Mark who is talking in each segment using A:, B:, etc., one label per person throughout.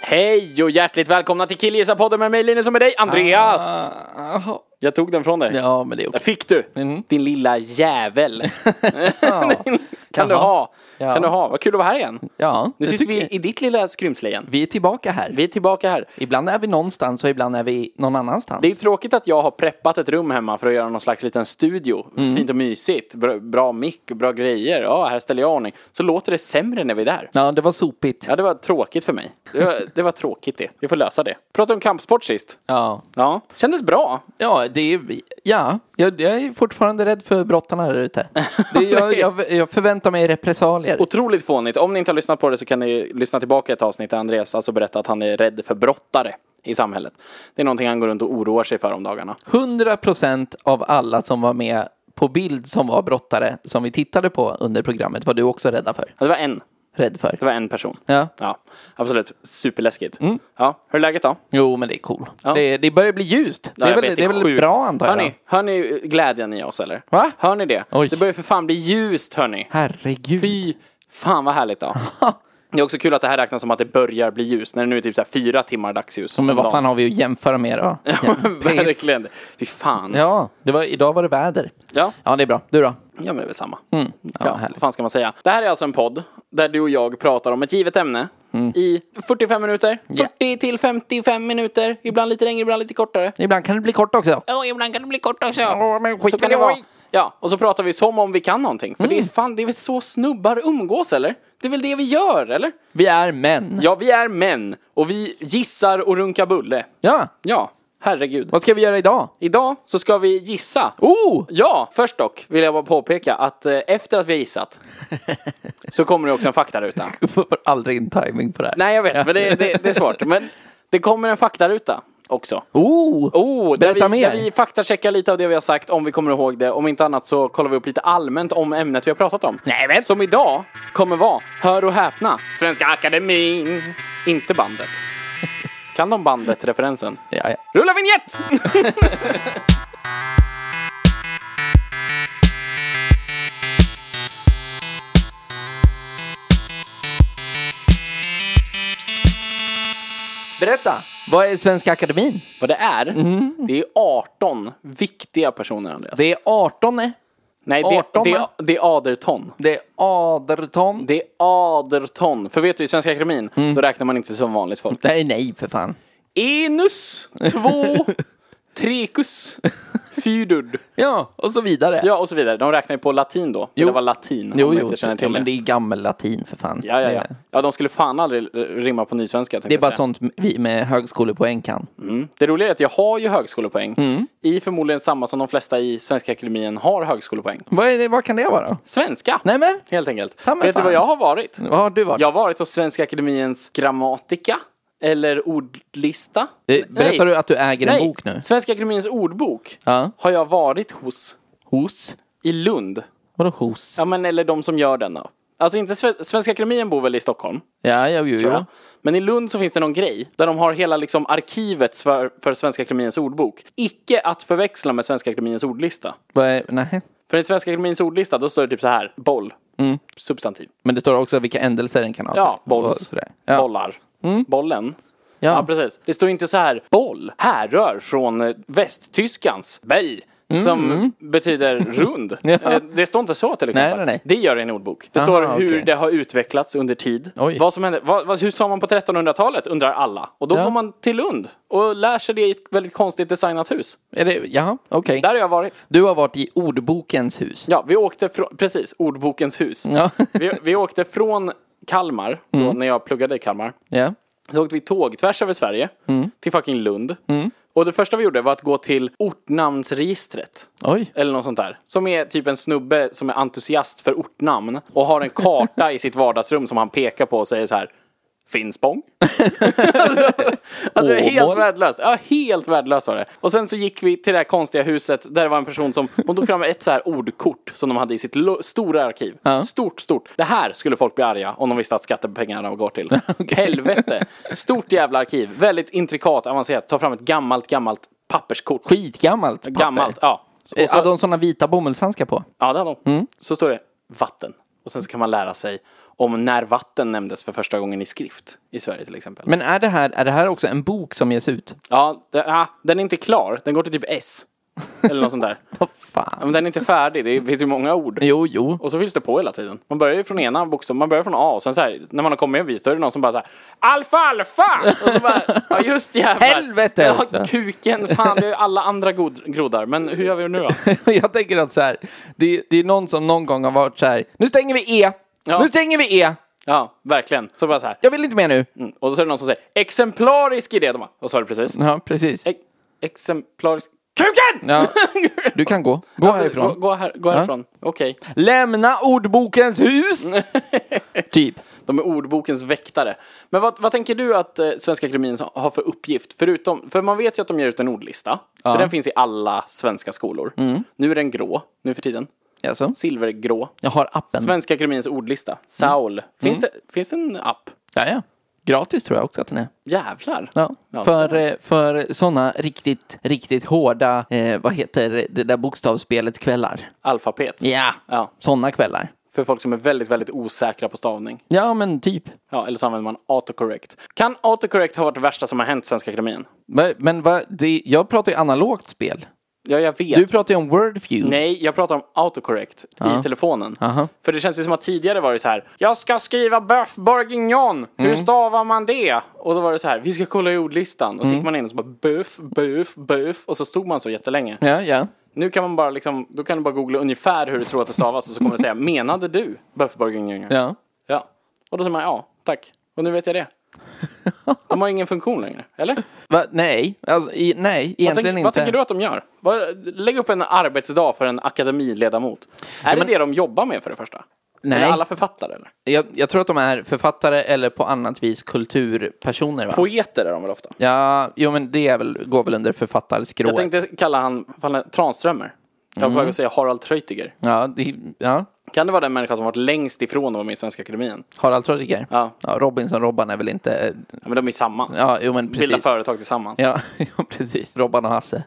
A: Hej och hjärtligt välkomna till Killgissarpodden med mig Linus och med dig Andreas!
B: Jaha.
A: Jag tog den från dig.
B: Ah, Ja, men det är
A: Där
B: okej.
A: fick du!
B: Mhm.
A: Din lilla jävel. kan du
B: Jaha.
A: ha.
B: Ja.
A: Kan du ha. Vad kul att vara här igen.
B: Ja,
A: Nu
B: jag
A: sitter vi
B: tycker-
A: i ditt lilla skrymsle igen.
B: Vi är tillbaka här.
A: Vi är tillbaka här.
B: Ibland är vi någonstans och ibland är vi någon annanstans.
A: Det är tråkigt att jag har preppat ett rum hemma för att göra någon slags liten studio.
B: Mm.
A: Fint och mysigt. Bra, bra mick och bra grejer. Ja, här ställer jag i ordning. Så låter det sämre när vi är där.
B: Ja, det var sopigt.
A: Ja, det var tråkigt för mig. Det var, det var tråkigt det. Vi får lösa det. Pratade om kampsport sist.
B: Ja,
A: Ja, kändes bra.
B: ja det är vi. Ja, jag, jag är fortfarande rädd för brottarna där ute. Det- Jag, jag, jag förväntar mig repressalier.
A: Otroligt fånigt. Om ni inte har lyssnat på det så kan ni lyssna tillbaka ett avsnitt där Andreas alltså berättar att han är rädd för brottare i samhället. Det är någonting han går runt och oroar sig för om dagarna.
B: 100% av alla som var med på bild som var brottare som vi tittade på under programmet var du också rädda för.
A: Ja, Det var en.
B: Rädd för.
A: Det var en person.
B: Ja. Mm.
A: Ja, absolut. Superläskigt. Ja, hur är läget då?
B: Jo, men det är cool.
A: Ja.
B: Det, det börjar bli ljust.
A: Ja,
B: det är
A: jag
B: väl,
A: vet,
B: det är väl
A: sjukt.
B: bra antar jag.
A: Hör ni, hör ni glädjen i oss eller?
B: Va?
A: Hör ni det?
B: Oj.
A: Det börjar för fan bli ljust hörni.
B: Herregud.
A: Fy fan vad härligt då. Det är också kul att det här räknas som att det börjar bli ljust när det nu är typ så här fyra timmar dagsljus.
B: Men
A: om
B: vad
A: dagen.
B: fan har vi att jämföra med då? Piss.
A: Verkligen. Fy fan.
B: Ja, det var, idag var det väder.
A: Ja.
B: Ja, det är bra. Du då?
A: Ja men det är väl samma. Ja,
B: härligt.
A: vad fan ska man säga? Det här är alltså en podd där du och jag pratar om ett givet ämne i 45 minuter. 40 till 55 minuter. Ibland lite längre, ibland lite kortare.
B: Ibland kan det bli kort också.
A: Ja, ibland kan det bli kort också.
B: Ja, men skit
A: så
B: i
A: kan
B: det.
A: det Mm. vara. Ja, och så pratar vi som om vi kan någonting. För det är fan, det är väl så snubbar umgås eller? Det är väl det vi gör eller?
B: Vi är män.
A: Ja, vi är män och vi gissar och runkar bulle.
B: Ja,
A: Ja, herregud.
B: vad ska vi göra idag?
A: Idag så ska vi gissa.
B: Oh!
A: Ja, först dock vill jag bara påpeka att eh, efter att vi har gissat så kommer det också en faktaruta.
B: Du får aldrig in timing på det här.
A: Nej, jag vet, men det, det, det är svårt. Men det kommer en faktaruta också.
B: Oh!
A: Oh, där vi,
B: Berätta mer.
A: där vi faktacheckar lite av det vi har sagt, om vi kommer ihåg det. Om inte annat så kollar vi upp lite allmänt om ämnet vi har pratat om.
B: Nej, men-
A: Som idag kommer vara, hör och häpna, Svenska Akademin. Inte bandet. Kan de bandet-referensen?
B: Ja, ja.
A: Rulla vignett!
B: Berätta! Vad är Svenska Akademin?
A: Vad det är? Det är 18 viktiga personer, Andreas.
B: Mm. Det är 18, nej.
A: Nej, det,
B: 18,
A: det,
B: va?
A: det är aderton.
B: det är aderton.
A: Det är aderton. För vet du, i Svenska Akademin,
B: Mm.
A: då räknar man inte som vanligt folk.
B: Nej, nej för fan.
A: Enus, två, trekus, fyrdud.
B: Ja, och så vidare.
A: Ja, och så vidare. De räknar ju på latin då. Jo. Det var latin, om
B: Jo,
A: man
B: jo,
A: inte känner
B: ja,
A: till
B: men det
A: det.
B: är gammal latin för fan.
A: Ja, ja, ja.
B: Det-
A: Ja, de skulle fan aldrig eh, rimma på nysvenska.
B: Det är bara sånt vi med högskolepoäng kan.
A: Det roliga är att jag har ju högskolepoäng.
B: Mm.
A: I förmodligen samma som de flesta i Svenska Akademien har högskolepoäng.
B: Vad, är det, vad kan det vara?
A: Svenska!
B: Nej men,
A: Helt enkelt.
B: Ta mig
A: Vet du
B: fan.
A: vad jag har varit?
B: vad har du varit?
A: Jag har varit hos Svenska Akademiens grammatika. Eller ordlista.
B: Eh, Berättar
A: Nej.
B: du att du äger en
A: Nej,
B: bok nu?
A: Svenska Akademiens ordbok
B: Ja.
A: har jag varit hos
B: Hos?
A: i Lund.
B: Vadå hos?
A: Ja, men eller de som gör den då. Alltså inte Sve- Svenska Akademien bor väl i Stockholm?
B: Ja, jo, jo,
A: tror jag.
B: jo.
A: Men i Lund så finns det någon grej där de har hela liksom arkivet för, för Svenska Akademiens ordbok. Icke att förväxla med Svenska Akademiens ordlista.
B: Vad är- Nej.
A: För i Svenska Akademiens ordlista då står det typ så här, boll,
B: Mm.
A: substantiv.
B: Men det står också vilka ändelser den kan ha.
A: Ja,
B: Och
A: bolls,
B: sådär. Ja. Mm.
A: bollar, bollen. Ja.
B: Ja.
A: precis. Det står inte så här boll härrör från eh, västtyskans bell
B: Mm,
A: som betyder rund. Eh, Det står inte så till exempel.
B: Nej, nej, nej.
A: Det gör det i en ordbok. Det
B: Aha,
A: står hur
B: okej.
A: det har utvecklats under tid.
B: Oj.
A: Vad som hände, vad, vad, hur sa man på 1300-talet undrar alla. Och då
B: Ja.
A: går man till Lund och lär sig det i ett väldigt konstigt designat hus.
B: Är det, jaha, okej.
A: Där har jag varit.
B: Du har varit i ordbokens hus.
A: Ja, vi åkte från, precis, ordbokens hus.
B: Ja. Mm.
A: Vi, vi åkte från Kalmar, då, när jag pluggade i Kalmar.
B: ja.
A: Så åkte vi tåg tvärs över Sverige till fucking Lund. Och det första vi gjorde var att gå till ortnamnsregistret.
B: Oj.
A: Eller något sånt där. Som är typ en snubbe som är entusiast för ortnamn och har en karta i sitt vardagsrum som han pekar på och säger så här. Finspång? alltså, att det är helt
B: Åmål?
A: värdelöst. Ja, helt värdelöst var det. Och sen så gick vi till det här konstiga huset där det var en person som, hon tog fram ett så här ordkort som de hade i sitt lo- stora arkiv. Stort, stort. Det här skulle folk bli arga om de visste att skattepengarna går till. Helvete. Stort jävla arkiv. Väldigt intrikat, avancerat. Ta fram ett gammalt, gammalt papperskort.
B: Skitgammalt papper.
A: Gammalt, ja.
B: Eh,
A: Och så-
B: Hade de sådana vita bomullshandskar på?
A: Ja, det hade hon. Så står det vatten. Och sen så kan man lära sig om när vatten nämndes för första gången i skrift i Sverige till exempel.
B: Men är det här, är det här också en bok som ges ut?
A: Ja, det, ah, den är inte klar. Den går till typ S. Eller något sånt där.
B: Vad
A: Ja,
B: fan?
A: Men den är inte färdig. Det finns ju många ord.
B: Jo, jo.
A: Och så fylls det på hela tiden. Man börjar ju från ena bokstaven, man börjar från A och sen så här, när man har kommit en bit, då är det någon som bara så här Alfa, alfa! Och så bara, ja just jävlar.
B: Helvete
A: Ja,
B: också.
A: kuken, fan det är ju alla andra god- groddar. Men hur gör vi nu då?
B: Jag tänker att så här, det, det är någon som någon gång har varit så här, nu stänger vi E!
A: Ja.
B: Nu stänger vi E!
A: Ja, verkligen. Så bara så här,
B: Jag vill inte mer nu.
A: Mm. Och så är det någon som säger exemplarisk idé. De bara, vad sa du precis?
B: Ja, precis.
A: E- exemplarisk... Kuken!
B: Ja. Du kan gå. Gå
A: Gå,
B: härifrån.
A: gå, här, gå härifrån. Okej.
B: Lämna ordbokens hus! typ.
A: De är ordbokens väktare. Men vad, vad tänker du att eh, Svenska Akademien har för uppgift? Förutom, för man vet ju att de ger ut en ordlista. För den finns i alla svenska skolor.
B: Mm.
A: Nu är den grå, nu för tiden.
B: Alltså,
A: Silvergrå.
B: jag har appen.
A: Svenska Akademiens ordlista.
B: Mm.
A: Saul. Finns, Det, finns det en app?
B: Ja, ja. Gratis tror jag också att den är.
A: Jävlar.
B: Ja.
A: Ja,
B: För, eh, för sådana riktigt, riktigt hårda, eh, vad heter det där bokstavsspelet kvällar?
A: Alfabet.
B: Ja,
A: Ja.
B: sådana kvällar.
A: För folk som är väldigt, väldigt osäkra på stavning.
B: Ja, men typ.
A: Ja, eller så använder man autocorrect. Kan autocorrect ha varit det värsta som har hänt Svenska Akademien?
B: Va- Men va, det, jag pratar ju analogt spel.
A: Ja, jag vet.
B: Du pratar ju om Wordview.
A: Nej, jag pratar om autocorrect i telefonen.
B: Aha.
A: För det känns ju som att tidigare var det så här. Jag ska skriva bœuf bourguignon.
B: Mm.
A: Hur stavar man det? Och då var det så här. Vi ska kolla i ordlistan.
B: Mm.
A: Och så gick man in och så bara böf, böf, böf. Och så stod man så jättelänge.
B: Ja, ja.
A: Nu kan man bara liksom, då kan du bara googla ungefär hur du tror att det stavas. Och så kommer det säga, menade du bœuf bourguignon?
B: ja.
A: Ja. Och då säger man, ja, tack. Och nu vet jag det. De har ingen funktion längre, eller?
B: Va, nej, alltså, i, nej,
A: Tänk,
B: egentligen
A: Vad
B: inte.
A: tänker du att de gör? Vad- Lägg upp en arbetsdag för en akademiledamot. Är det det de jobbar med för det första?
B: Nej.
A: Är det alla författare? Eller?
B: Jag, jag tror att de är författare eller på annat vis kulturpersoner, va?
A: Poeter är de väl ofta?
B: Ja, jo men det är väl, går väl under författarskrået.
A: Jag tänkte kalla han, han Tranströmer. Jag var
B: Mm.
A: på väg att säga Harald Treutiger.
B: Ja, det, ja.
A: Kan det vara den människa som varit längst ifrån att vara med i Svenska Akademien?
B: Harald Treutiger.
A: Ja.
B: Robinson-Robban är väl inte...
A: Ja, men de är samma.
B: Ja, jo men
A: Bildar
B: precis.
A: företag tillsammans.
B: Ja, ja, precis. Robban och Hasse.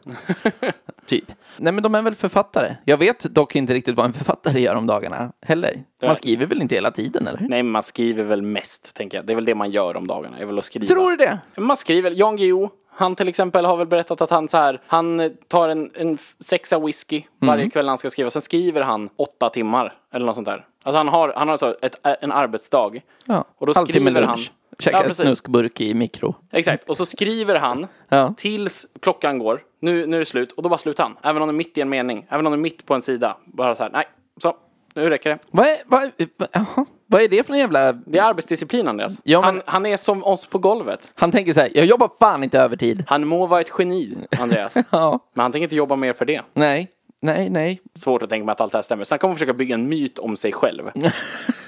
B: typ. Nej, men de är väl författare. Jag vet dock inte riktigt vad en författare gör om dagarna heller. Man skriver väl inte hela tiden, eller?
A: Nej, men man skriver väl mest, tänker jag. Det är väl det man gör om dagarna, är väl att skriva.
B: Tror du det?
A: Men Man skriver, Jan Guillou, han till exempel har väl berättat att han så här, han eh, tar en, en f- sexa whisky
B: Mm.
A: varje kväll när han ska skriva, sen skriver han åtta timmar eller något sånt där. Alltså han har, han har så ett, en arbetsdag.
B: Ja.
A: Och då
B: Halvtimme
A: skriver han.
B: lunch. Käka
A: Ja,
B: en
A: precis.
B: snuskburk i mikro.
A: Exakt, och så skriver han
B: Ja.
A: tills klockan går, nu, nu är det slut, och då bara slutar han. Även om det är mitt i en mening, även om det är mitt på en sida. Bara så här, nej, så, nu räcker det.
B: Vad är, vad, är- vad, jaha. vad är det för en jävla...
A: Det är arbetsdisciplin Andreas.
B: Ja, men-
A: han, han är som oss på golvet.
B: Han tänker så här, jag jobbar fan inte övertid.
A: Han må vara ett geni, Andreas.
B: Ja.
A: Men han tänker inte jobba mer för det.
B: Nej, nej, nej.
A: svårt att tänka mig att allt det här stämmer. Sen kommer han försöka bygga en myt om sig själv.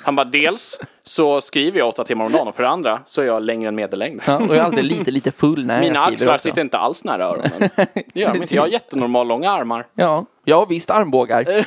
A: Han bara, dels så skriver jag åtta timmar om dagen och för det andra så är jag längre än medellängd.
B: Ja, och jag är alltid lite, lite full när
A: Mina
B: jag skriver
A: axlar
B: också.
A: sitter inte alls nära öronen. Det gör de inte. Jag har jättenormal långa armar.
B: Ja, jag har visst armbågar.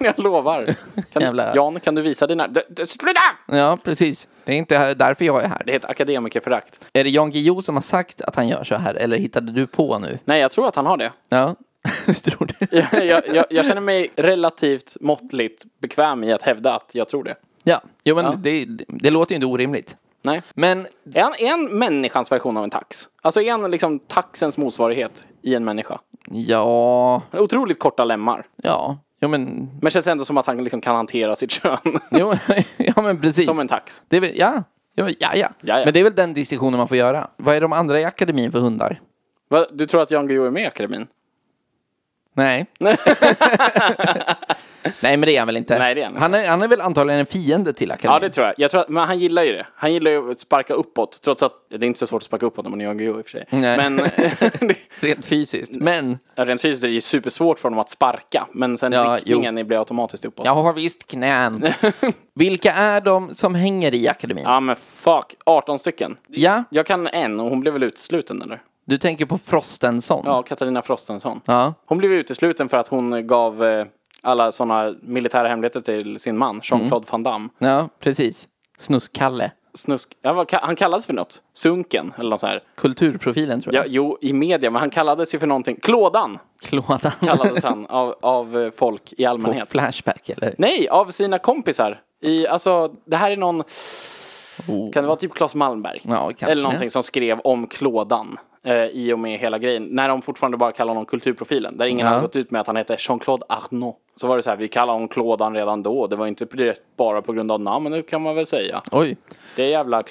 A: Jag lovar. Kan,
B: Jävla-
A: Jan, kan du visa dina... D- d- Sluta!
B: Ja, precis. Det är inte här- därför jag är här.
A: Det är ett akademikerförakt.
B: Är det Jan Guillou som har sagt att han gör så här, eller hittade du på nu?
A: Nej, jag tror att han har det.
B: Ja, du tror det?
A: Jag, jag, jag känner mig relativt måttligt bekväm i att hävda att jag tror det.
B: Ja, jo men Det, det låter ju inte orimligt.
A: Nej.
B: Men
A: Är han, är han människans version av en tax? Alltså är han liksom taxens motsvarighet i en människa?
B: ja,
A: Han har Otroligt korta lemmar.
B: ja, jo men,
A: Men känns ändå som att han liksom kan hantera sitt kön.
B: jo, ja men precis.
A: Som en tax.
B: Det är väl, ja, ja, ja, ja.
A: Ja, ja.
B: Men det är väl den distinktionen man får göra. Vad är de andra i akademin för hundar?
A: Va? Du tror att Jan Guillou är med i akademin?
B: Nej. Nej, men det är han väl inte?
A: Nej, det är han inte.
B: han är, han är väl antagligen en fiende till
A: Ja,
B: akademin?
A: det tror jag. jag tror att, men han gillar ju det. Han gillar ju att sparka uppåt, trots att det är inte så svårt att sparka uppåt när man är Jan Guillou i och för sig.
B: Nej.
A: Men det,
B: Rent fysiskt.
A: Mm.
B: Men
A: ja, rent fysiskt är det ju supersvårt för honom att sparka, men sen
B: Ja,
A: riktningen blir automatiskt uppåt.
B: jag har visst knän. Vilka är de som hänger i akademin?
A: Ja, men fuck. 18 stycken.
B: Ja,
A: Jag kan en och hon blev väl utesluten eller?
B: du tänker på Frostenson?
A: Ja, Katarina Frostenson.
B: Ja.
A: Hon blev utesluten för att hon gav eh, alla sådana militära hemligheter till sin man, Jean-Claude Van Damme.
B: Ja, precis. Snuskalle.
A: Snusk... Ja, vad ka- han kallades för något. Sunken, eller något så här.
B: Kulturprofilen tror
A: Ja,
B: jag.
A: jo, i media, men han kallades ju för någonting. Klådan
B: Klådan.
A: kallades han av, av eh, folk i
B: på
A: allmänhet.
B: Flashback eller?
A: Nej, av sina kompisar. I, alltså, det här är någon...
B: Oh.
A: Kan det vara typ Claes Malmberg?
B: Ja, kanske.
A: Eller någonting som skrev om klådan eh, i och med hela grejen. När de fortfarande bara kallar honom kulturprofilen. Där ingen hade gått ut med att han hette Jean-Claude Arnault. Så var det så här, vi kallar honom klådan redan då. Det var inte direkt bara på grund av namnet kan man väl säga.
B: Oj.
A: Det jävla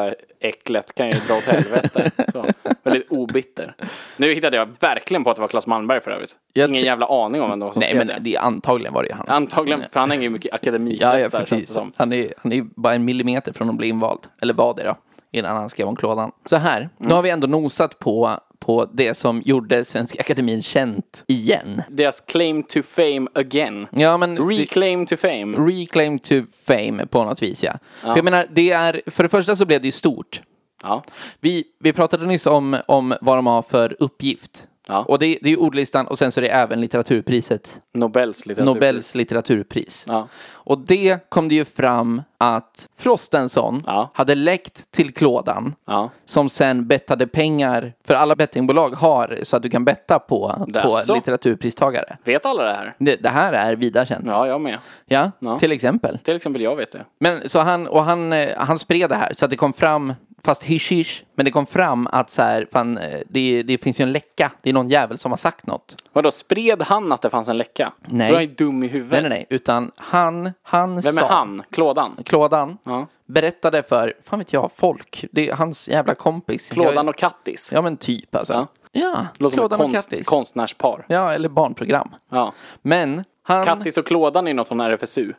A: klamydia-äcklet kan ju dra åt helvete. Så, väldigt obitter. Nu hittade jag verkligen på att det var Claes Malmberg för övrigt.
B: Jag
A: Ingen
B: tr-
A: jävla aning om vem det var som
B: Nej,
A: skrev
B: men
A: det.
B: det är antagligen var det ju han.
A: Antagligen, för han hänger ju mycket i
B: Ja, ja,
A: akademikretsar känns det
B: precis.
A: som.
B: Han är, han är ju bara en millimeter från att bli invald. Eller var det då, innan han skrev om klådan. Så här,
A: Mm.
B: nu har vi ändå nosat på, på det som gjorde Svenska Akademin känt igen.
A: Deras claim to fame again.
B: Ja, men...
A: Reclaim to fame.
B: Reclaim to fame på något vis, ja. För jag menar, det är... För det första så blev det ju stort.
A: Ja.
B: Vi, vi pratade nyss om, om vad de har för uppgift.
A: Ja.
B: Och det, det är ju ordlistan och sen så är det även litteraturpriset.
A: Nobels litteratur.
B: Nobels litteraturpris.
A: Ja.
B: Och det kom det ju fram att Frostenson
A: Ja.
B: hade läckt till klådan.
A: Ja.
B: Som sen bettade pengar, för alla bettingbolag har så att du kan betta på,
A: Jaså?
B: på litteraturpristagare.
A: Vet alla det här?
B: Det, det här är vida känt.
A: Ja, jag med.
B: Ja,
A: Ja.
B: till exempel.
A: Till exempel jag vet det.
B: Men så han, och han, eh, han spred det här så att det kom fram, fast hysch hysch, men det kom fram att så här, fan, eh, det, det finns ju en läcka, det är någon jävel som har sagt något.
A: Vadå, spred han att det fanns en läcka?
B: Nej.
A: Då är han ju dum i huvudet.
B: Nej, nej, nej, utan han, han
A: Vem
B: sa,
A: är han? Klådan?
B: Klådan,
A: Ja.
B: berättade för, fan vet jag, folk, det är hans jävla kompis.
A: Klådan
B: Jag-
A: och Kattis?
B: Ja men typ alltså.
A: Ja.
B: Ja,
A: Låter som ett
B: Klådan och
A: konst,
B: Kattis.
A: konstnärspar.
B: Ja, eller barnprogram.
A: Ja.
B: Men han...
A: Kattis och Klådan är ju något från RFSU.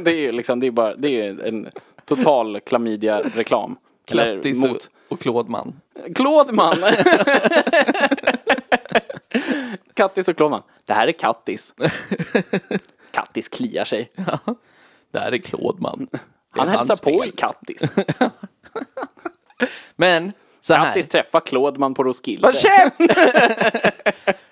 A: det är ju liksom, det är bara, det är en total klamydia-reklam. Eller
B: Kattis och,
A: mot.
B: och Klådman.
A: Klådman! Kattis och Klådman. Det här är Kattis. Kattis kliar sig.
B: Där är Klådman. Det är
A: Han
B: hans
A: hälsar på
B: fel.
A: i Kattis.
B: Men så här.
A: Kattis träffar Klådman på Roskilde.
B: Håll käft!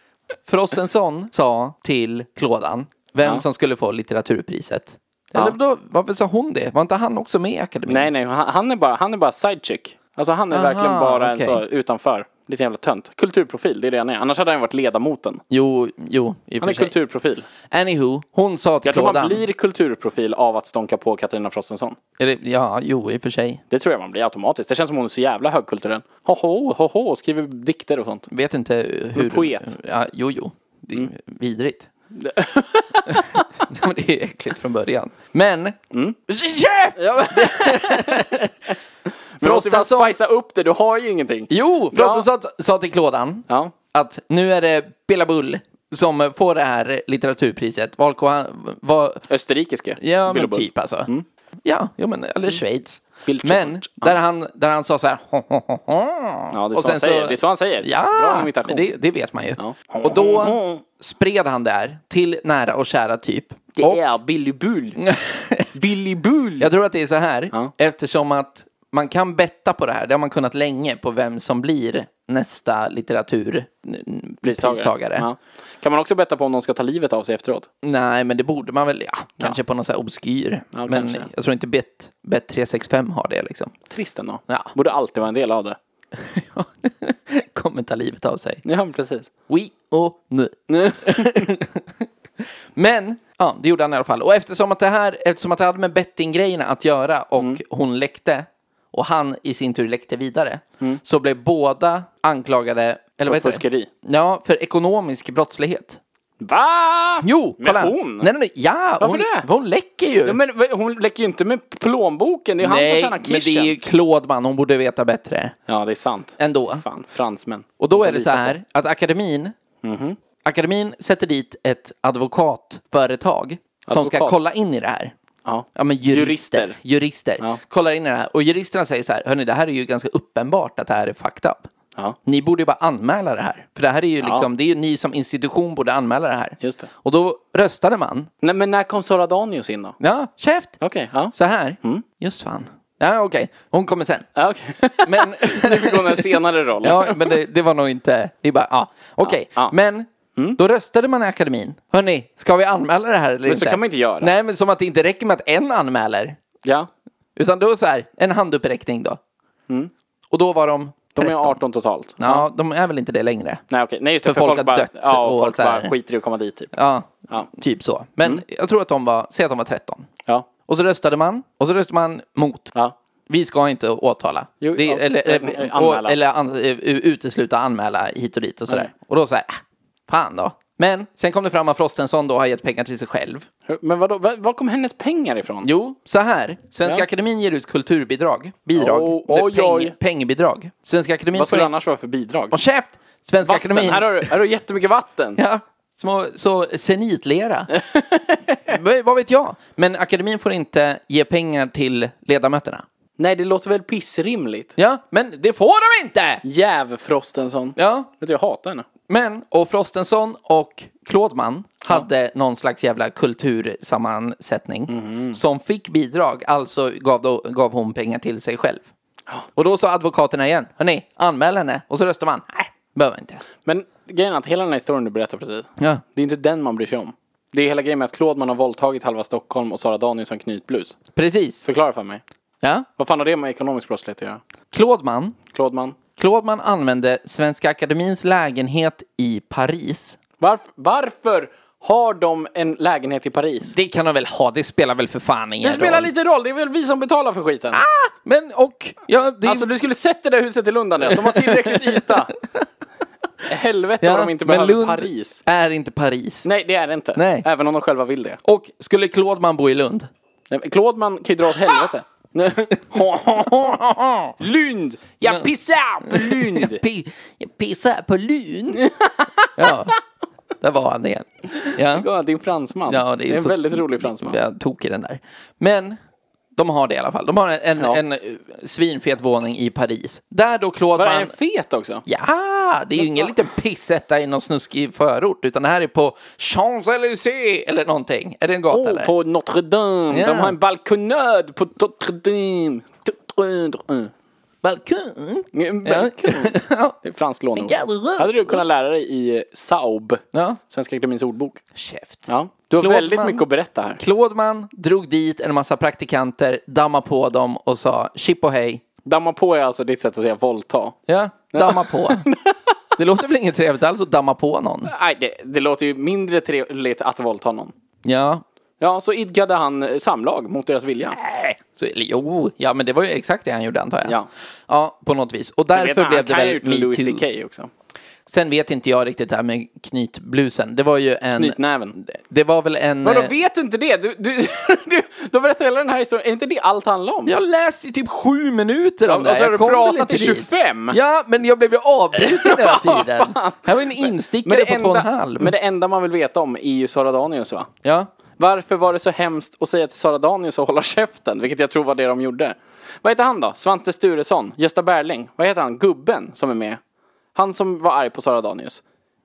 B: Frostenson sa till Klådan vem som skulle få litteraturpriset. Eller då, varför sa hon det? Var inte han också med i akademin?
A: Nej, nej, han han är bara, han är bara sidechick. Alltså han är verkligen bara en
B: okej.
A: så utanför. Lite jävla tönt. Kulturprofil, det är det han är. Annars hade han varit ledamoten.
B: Jo, jo, i och
A: Han
B: för
A: är
B: sig.
A: kulturprofil.
B: Anywho, hon sa till
A: Jag tror man
B: Klådan.
A: blir kulturprofil av att stånka på Katarina Frostenson.
B: Eller, Ja, jo, i och för sig.
A: Det tror jag man blir automatiskt. Det känns som hon är så jävla högkulturell. Hoho, hoho, skriver dikter och sånt.
B: Vet inte hur...
A: poet.
B: Ja, jo, jo. Det är vidrigt. Nej, Mm. men det är äckligt från början. Men... Mm.
A: Men du måste ju fan
B: Frostenson-
A: spicea upp det, du har ju ingenting.
B: Jo!
A: Bra.
B: Frostenson sa till Klådan.
A: Ja.
B: att nu är det Billabull som får det här litteraturpriset. Valko, han var...
A: Österrikiske.
B: Ja,
A: Bill
B: men
A: och Bull.
B: typ alltså. Ja, jo, men, eller Mm. Schweiz.
A: Bill
B: Men
A: George.
B: där han, där han sa så här... "Ho, ho, ho, ho."
A: Ja, det är,
B: Och
A: så han
B: sen
A: säger. det är så han säger. Bra
B: Ja,
A: imitation.
B: men det, det vet man ju.
A: Ja. Mm-hmm.
B: Och då spred han det här till nära och kära typ. Och
A: är Billy Bull. Billy Bull.
B: jag tror att det är så här,
A: Ja.
B: eftersom att man kan betta på det här, det har man kunnat länge, på vem som blir nästa litteraturpristagare.
A: Ja. Kan man också betta på om någon ska ta livet av sig efteråt?
B: Nej, men det borde man väl, ja, kanske på någon sån här obskyr. men
A: kanske.
B: jag tror inte Bet, Bet365 har det liksom.
A: Trist ändå.
B: Ja.
A: Borde alltid vara en del av det.
B: Kommer ta livet av sig.
A: Ja, men precis.
B: Oui och nu. men, ja, det gjorde han i alla fall. Och eftersom att det här, eftersom att det hade med bettinggrejerna att göra och
A: Mm.
B: hon läckte och han i sin tur läckte vidare, så blev båda anklagade, eller vad heter
A: Mm. fuskeri.
B: det? Ja, för ekonomisk brottslighet.
A: Va?
B: Jo,
A: Men
B: kolla!
A: hon?
B: Nej, nej, nej, ja,
A: Varför
B: hon,
A: det?
B: för hon läcker ju!
A: Ja, men v- hon läcker ju inte med plånboken. Det är ju han som tjänar
B: men det
A: kirschen.
B: är ju Klådman, hon borde veta bättre
A: Ja, det är sant.
B: ändå.
A: Fan, fransmän.
B: Och då
A: Inte
B: är det så
A: lita på. Mm-hmm.
B: här att akademin Akademin sätter dit ett advokatföretag som ska
A: Advokat?
B: kolla in i det här.
A: Ja.
B: Ja, men jurister. Jurister.
A: Jurister. Ja.
B: Kollar in i det här. Och juristerna säger så här, hörni, det här är ju ganska uppenbart att det här är fucked up.
A: Ja.
B: Ni borde ju bara anmäla det här. För det här är ju liksom, det är ju ni som institution borde anmäla det här.
A: Just det.
B: Och då röstade man.
A: Nej, men när kom Sara Danius in då?
B: Ja, käft!
A: Okej, ja.
B: Så här.
A: Mm.
B: Just fan. Ja, okej. Hon kommer sen.
A: ja okay.
B: Men...
A: nu fick hon en senare roll.
B: Ja, men det, det var nog inte... Det är bara, ja. Okej,
A: Ja, Mm. ja.
B: men då röstade man i akademin. Hörni, ska vi anmäla det här eller
A: Men
B: inte?
A: så kan man inte göra.
B: Nej, men som att det inte räcker med att en anmäler.
A: ja.
B: Utan då så här, en handuppräckning då. Och då var de...
A: Mm. De är
B: 13.
A: 18 totalt.
B: Ja, de är väl inte det längre.
A: Nej okej, nej just det,
B: För
A: för,
B: folk
A: folk,
B: har
A: bara,
B: dött
A: ja,
B: och
A: och folk
B: så här.
A: bara skiter i att komma dit typ.
B: Ja,
A: Ja.
B: typ så. Men
A: Mm.
B: jag tror att de var, säg att de var 13.
A: Ja.
B: Och så röstade man, och så röstade man mot.
A: ja.
B: Vi ska inte åtala.
A: Jo,
B: det,
A: ja.
B: eller
A: Eh,
B: och-
A: anmäla.
B: eller an, eh, utesluta anmäla hit och dit och sådär.
A: Nej.
B: Och då så här, äh, fan då. Men sen kom det fram att Frostenson då har gett pengar till sig själv.
A: Hur- Men vadå, var, var kom hennes pengar ifrån?
B: Jo, så här. Svenska
A: Ja.
B: Akademin ger ut kulturbidrag. Bidrag.
A: Oh,
B: Eller
A: oj,
B: peng,
A: oj.
B: Pengbidrag. Svenska Akademin
A: Vad skulle
B: får
A: det
B: in-
A: annars vara för bidrag?
B: Och käft! Svenska
A: Vatten,
B: Akademin.
A: här har du, här har du jättemycket vatten.
B: Ja, små, så senitlera. Vad- Vad vet jag? Men akademin får inte ge pengar till ledamöterna.
A: Nej, det låter väl pissrimligt?
B: Ja, men det får de inte!
A: Jäv Frostenson.
B: Ja,
A: Vet du, jag hatar henne.
B: men och Frostenson och Klådman hade någon slags jävla kultursammansättning som fick bidrag, alltså gav, då, gav hon pengar till sig själv. Och då sa advokaterna igen, hörni, anmäl henne. Och så röstar man, nej, behöver inte.
A: Men grejen är att hela den här historien du berättar precis,
B: Ja.
A: det är inte den man bryr sig om. Det är hela grejen med att Klådman har våldtagit halva Stockholm och Sara Danius har en knytblus.
B: Precis.
A: Förklara för mig.
B: Ja.
A: Vad fan har det med ekonomisk brottslighet att göra?
B: Klådman
A: Klådman?
B: Claudeman använde Svenska Akademins lägenhet i Paris.
A: Varf- varför har de en lägenhet i Paris?
B: Det kan de väl ha, det spelar väl för fan ingen
A: Det spelar
B: roll.
A: lite roll, det är väl vi som betalar för skiten.
B: Men och, ja, Ah, det...
A: Alltså du skulle sett det där huset i Lund Andreas, de har tillräckligt yta. Helvete
B: ja,
A: vad de inte
B: men
A: behöver
B: Lund
A: Paris.
B: är inte Paris.
A: Nej det är det inte,
B: Nej.
A: även om de själva vill det.
B: Och skulle Claudeman bo i Lund?
A: Nej, men Klådman kan ju dra åt helvete. Lund! Jag pissar på Lund!
B: Pi- jag pissar på Lund. ja, där var han igen. Ja.
A: Ja, det är en fransman.
B: Ja,
A: det är, en
B: så-
A: väldigt rolig fransman.
B: Ja, tokig den där. Men de har det i alla fall. De har en, en,
A: Ja.
B: en eh, svinfet våning i Paris. Där då
A: Var är
B: Claudeman...
A: en fet också?
B: Ja, det är ju ingen liten pissetta i någon snuskig förort, utan det här är på Champs-Élysées eller någonting. Är det en gata
A: Åh,
B: eller?
A: Oh, på Notre Dame!
B: Ja.
A: De har en balkonöd på Notre Dame! Notre Dame.
B: balkon.
A: En balkon.
B: Ja.
A: Mm, Det är franskt lånord.
B: garderob.
A: Hade du kunnat lära dig i eh, Saub,
B: Ja.
A: Svenska Akademiens ordbok.
B: Käft.
A: Ja. Du har
B: Klådman.
A: väldigt mycket att berätta här.
B: Claudeman drog dit en massa praktikanter, damma på dem och sa chip och hej.
A: Damma på är alltså ditt sätt att säga våldta.
B: Ja, damma på. Det låter väl inget trevligt alls att damma på någon?
A: Nej, det, det låter ju mindre trevligt att våldta någon.
B: Ja.
A: Ja, så idkade han eh, samlag mot deras vilja.
B: Nej. Så, eller jo, ja men det var ju exakt det han gjorde antar jag.
A: Ja.
B: ja på något vis. Och
A: Jag vet,
B: därför
A: han
B: blev det
A: kan
B: väl
A: ju ha gjort med Louis
B: metoo.
A: CK också.
B: Sen vet inte jag riktigt det här med knytblusen. Det var ju en...
A: Knytnäven.
B: Det var väl en...
A: Vadå,
B: eh,
A: vet du inte det? Du, du, du, du berättar hela den här historien. Är inte det allt handlar om?
B: Jag läste i typ sju minuter om
A: och
B: det här.
A: så har
B: Jag
A: du
B: kom väl
A: pratat
B: inte
A: i
B: dit.
A: 25.
B: Ja, men jag blev ju avbruten hela tiden. Här var en
A: Men
B: instickare
A: det,
B: på två och en
A: enda,
B: halv.
A: men det enda man vill veta om är ju Sara Danius va?
B: Ja.
A: Varför var det så hemskt att säga till Sara Danius att hålla käften? Vilket jag tror var det de gjorde. Vad heter han då? Svante Sturesson? Gösta Berling? Vad heter han? Gubben som är med? Han som var arg på Sara Danius.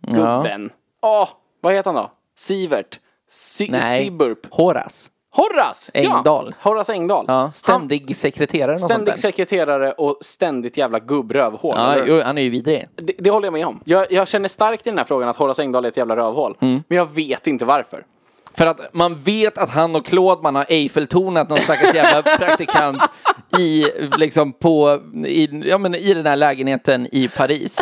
A: Gubben. Åh, vad heter han då? Sivert? Si-
B: Nej.
A: Siburp?
B: Horace.
A: Horace!
B: Engdahl.
A: Ja, Horace Engdahl.
B: Ja,
A: han,
B: ständig sekreterare. något sånt där.
A: ständig sekreterare och ständigt jävla gubbrövhål.
B: Ja,
A: eller?
B: jo, han är ju vidrig.
A: Det, det håller jag med om. Jag, jag känner starkt i den här frågan att Horace Engdahl är ett jävla rövhål.
B: Mm.
A: Men jag vet inte varför.
B: För att man vet att han och Claudeman har Eiffeltornat någon stackars jävla praktikant i, liksom på, i, ja, men i den här lägenheten i Paris.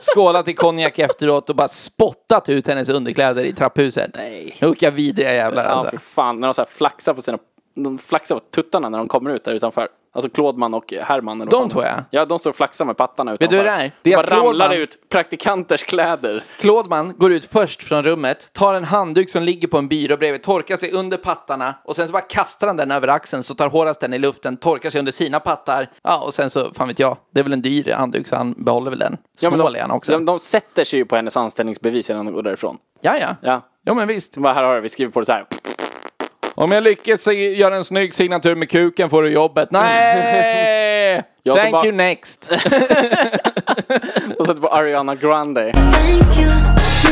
B: Skålat i konjak efteråt och bara spottat ut hennes underkläder i trapphuset.
A: Nej.
B: Vilka vidriga jävlar
A: Ja,
B: alltså.
A: för fan. När de så här flaxar på sina... De flaxar på tuttarna när de kommer ut där utanför. Alltså Klådman och Herman. eller
B: De
A: vad fan det
B: två,
A: var.
B: ja.
A: Ja, de står och flaxar med pattarna utanför.
B: du hur det är? Det är
A: bara
B: att Klådman-
A: ramlar ut praktikanters kläder.
B: Klådman går ut först från rummet, tar en handduk som ligger på en byrå bredvid, torkar sig under pattarna och sen så bara kastar han den över axeln så tar Horace den i luften, torkar sig under sina pattar. Ja, och sen så, fan vet jag, det är väl en dyr handduk så han behåller väl den. Snål
A: de,
B: är han också.
A: De, de sätter sig ju på hennes anställningsbevis innan de går därifrån.
B: Ja, ja.
A: Ja.
B: Ja, men visst.
A: De bara, här har du, vi skriver på det så här.
B: Om jag lyckas se- göra en snygg signatur med kuken får du jobbet. Nej!
A: Jag som
B: Thank
A: bara-
B: you next.
A: Och sätter på Ariana Grande.
C: Thank you.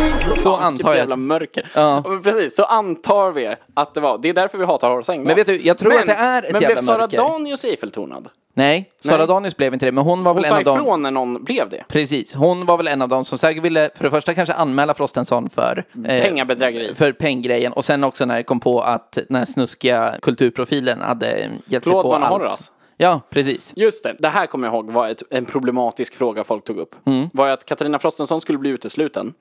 C: Next.
B: Så
A: Vilket
B: antar
A: jävla
B: jag.
A: mörker. Ja. men precis, så antar vi att det var. Det är därför vi hatar Horace Engdahl.
B: Men vet du, jag tror att det är ett
A: Men
B: jävla
A: blev Sara
B: mörker.
A: Danius Eiffeltornad?
B: Nej, Sara
A: Nej.
B: Danius blev inte det, men hon var
A: Hon
B: väl en
A: sa
B: av dem.
A: ifrån när någon blev det.
B: Precis, hon var väl en av dem som säkert ville, för det första kanske anmäla Frostenson för eh,
A: Pengabedrägeri.
B: för penggrejen och sen också när det kom på att den här snuskiga kulturprofilen hade gett sig
A: Förlåt,
B: på
A: man har alltså?
B: allt.
A: ras.
B: Ja, precis.
A: Just det, det här kommer jag ihåg var ett, en problematisk fråga folk tog upp.
B: Mm.
A: Var ju att Katarina Frostenson skulle bli utesluten.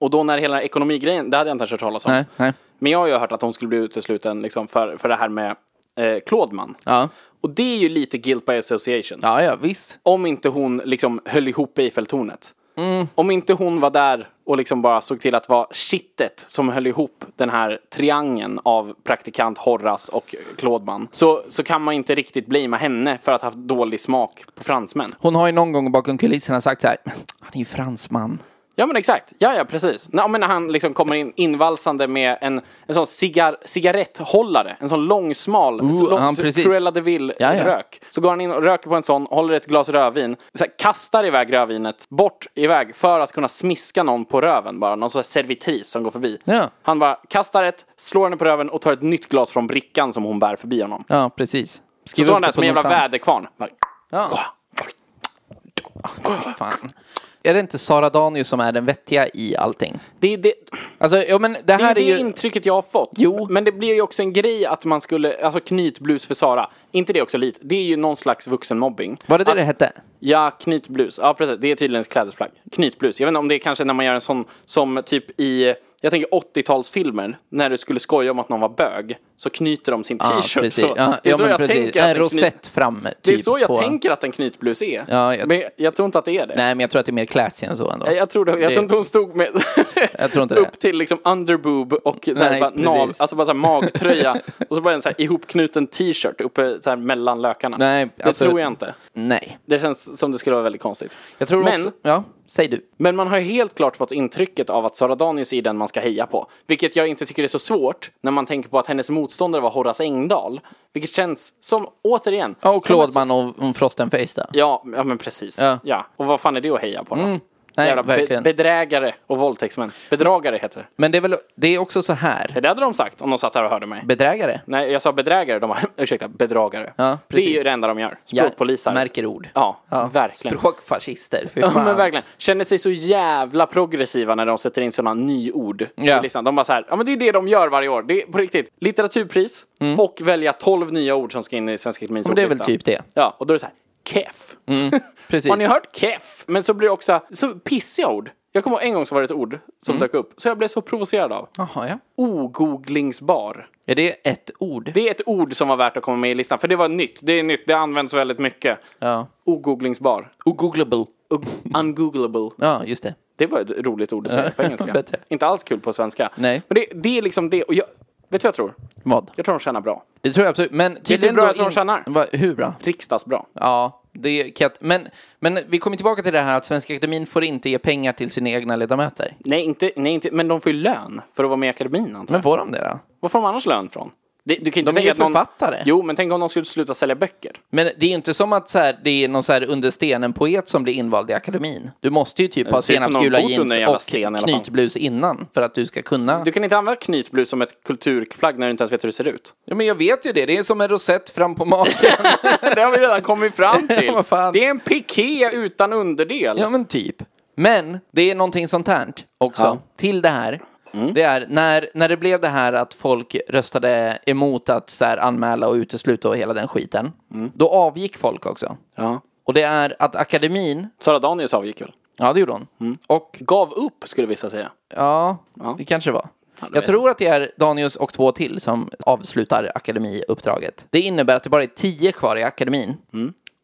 A: Och då när hela ekonomigrejen, det hade jag inte ens hört talas om.
B: Nej, nej.
A: Men jag har ju hört att hon skulle bli utesluten liksom för, för det här med eh, Klådman.
B: Ja.
A: Och det är ju lite guilt by association.
B: Ja, ja, visst.
A: Om inte hon liksom höll ihop Eiffeltornet. Om inte hon var där och liksom bara såg till att vara kittet som höll ihop den här triangeln av praktikant Horras och Klådman. Så, så kan man inte riktigt blamea henne för att ha haft dålig smak på fransmän.
B: Hon har ju någon gång bakom kulisserna sagt så här, han är ju fransman.
A: Ja men exakt, ja ja precis. När, men när han liksom kommer in invalsande med en, en sån cigar, cigaretthållare, en sån lång smal,
B: Ooh,
A: så lång,
B: han
A: så
B: precis.
A: Cruella de Vil
B: Ja, ja.
A: rök. Så går han in och röker på en sån, håller ett glas rödvin, så här, kastar iväg rödvinet, bort iväg för att kunna smiska någon på röven bara, någon sån här servitris som går förbi.
B: Ja.
A: Han bara kastar ett, slår henne på röven och tar ett nytt glas från brickan som hon bär förbi honom.
B: Ja, precis.
A: Så
B: Skriv
A: står
B: upp
A: han där
B: det på
A: som en jävla
B: notan.
A: väderkvarn. Bara,
B: Ja. Fan. Är det inte Sara Danius som är den vettiga i allting?
A: Det, är det,
B: Alltså, ja, men det
A: Det är
B: här
A: det
B: är ju...
A: intrycket jag har fått.
B: Jo.
A: Men det blir ju också en grej att man skulle, alltså knytblus för Sara. Inte det också lite? Det är ju någon slags vuxenmobbing.
B: Var det det
A: att,
B: det hette?
A: Ja, knytblus. Ja, precis. Det är tydligen ett klädesplagg. Knytblus. Jag vet inte om det är kanske när man gör en sån som typ i, jag tänker 80-talsfilmer, när du skulle skoja om att någon var bög, så knyter de sin
B: Ja,
A: t-shirt.
B: Ah, precis.
A: Så,
B: Ja,
A: det är
B: ja,
A: så
B: men
A: jag
B: precis.
A: tänker att
B: En
A: en knyt-
B: rosett fram, typ.
A: Det är så jag
B: på...
A: tänker att en knytblus är.
B: Ja, jag-
A: Men jag tror inte att det är det.
B: Nej, men jag tror att det är mer classy än så ändå.
A: Jag tror, det, jag
B: Det-
A: tror inte hon stod med
B: Jag tror inte det.
A: upp till liksom underboob och så här
B: Nej,
A: bara nav,
B: precis.
A: alltså bara så här magtröja och så bara en så här ihopknuten t-shirt uppe så här mellan lökarna.
B: Nej,
A: det
B: alltså-
A: tror jag inte.
B: Nej.
A: Det känns som det skulle vara väldigt konstigt.
B: Jag tror
A: men,
B: också... Ja, säg du.
A: men man har ju helt klart fått intrycket av att Sara Danius är den man ska heja på. Vilket jag inte tycker är så svårt när man tänker på att hennes motståndare var Horace Engdahl. Vilket känns som, återigen.
B: Ja, och
A: som ett-
B: Klådman och och Frostenface där.
A: Ja, ja men precis.
B: Ja. Mm.
A: Ja. Och vad fan är det att heja på då?
B: nej,
A: Jävla
B: verkligen.
A: bedrägare och våldtäktsmän. Bedragare heter det.
B: Men det är väl, det är också så här.
A: Det hade de sagt om de satt här och hörde mig.
B: Bedrägare.
A: Nej, jag sa bedrägare. De bara, ursäkta, bedragare.
B: Ja,
A: det
B: precis.
A: är ju det enda de gör.
B: Ja,
A: Språkpoliser.
B: Märker ord.
A: Ja, verkligen.
B: Språkfascister. Fy
A: Ja,
B: fan.
A: men verkligen. Känner sig så jävla progressiva när de sätter in sådana nyord.
B: Ja.
A: i listan. De bara så här, ja men det är det de gör varje år. Det är på riktigt. Litteraturpris och välja 12 nya ord som ska in i Svenska Akademiens
B: Mm. Ja, men det är väl
A: ordlista.
B: typ det. Mm,
A: Ja, och då är det så här, keff.
B: Precis.
A: Har ni hört keff? Men så blir det också så pissiga ord. Jag kommer ihåg en gång så var det ett ord som dök upp, så jag blev så provocerad av.
B: Jaha, Mm. ja.
A: Ogooglingsbar.
B: Är det ett ord?
A: Det är ett ord som var värt att komma med i listan, för det var nytt. Det är nytt, det används väldigt mycket.
B: Ja.
A: Ogooglingsbar.
B: Ogooglable.
A: Ug- Ungoogleable.
B: Ja, just det.
A: Det var ett roligt ord att säga på engelska.
B: Bättre.
A: Inte alls kul på svenska.
B: Nej.
A: Men det, det är liksom det. Och jag, vet du vad jag tror?
B: Vad?
A: Jag tror de tjänar bra.
B: Det tror jag absolut. Men tydligen
A: hur bra
B: då
A: jag tror de tjänar?
B: Va, hur bra?
A: Riksdagsbra.
B: Ja, det kan jag... Men, men vi kommer tillbaka till det här att Svenska Akademin får inte ge pengar till sina egna ledamöter.
A: Nej, inte, nej inte, men de får ju lön för att vara med i akademin antar jag.
B: Men får de det då?
A: Var får de annars lön från? Det, du kan inte
B: är
A: tänka
B: ju
A: att någon-
B: författare.
A: Jo, men tänk om de skulle sluta sälja böcker.
B: Men det är ju inte som att så här, det är någon så här under stenen-poet som blir invald i akademin. Du måste ju typ ha
A: ser ut som någon
B: senapsgula
A: bott under en jävla
B: jeans
A: sten i alla
B: och
A: fall.
B: knytblus innan för att du ska kunna.
A: Du kan inte använda knytblus som ett kulturplagg när du inte ens vet hur det ser ut.
B: Ja, men jag vet ju det, det är som en rosett fram på magen.
A: det har vi redan kommit fram till.
B: Ja, vad fan.
A: Det är en piké utan underdel.
B: ja, men typ. Men det är någonting sånt här också
A: Ja.
B: till det här. Det är när, när det blev det här att folk röstade emot att så här, anmäla och utesluta och hela den skiten. Då avgick folk också.
A: Ja.
B: Och det är att akademin,
A: Sara Danius avgick väl?
B: ja det gjorde hon. Och
A: Gav upp, skulle vissa säga.
B: ja, det kanske det var. Jag tror att det är Danius och två till som avslutar akademiuppdraget. Det innebär att det bara är tio kvar i akademin.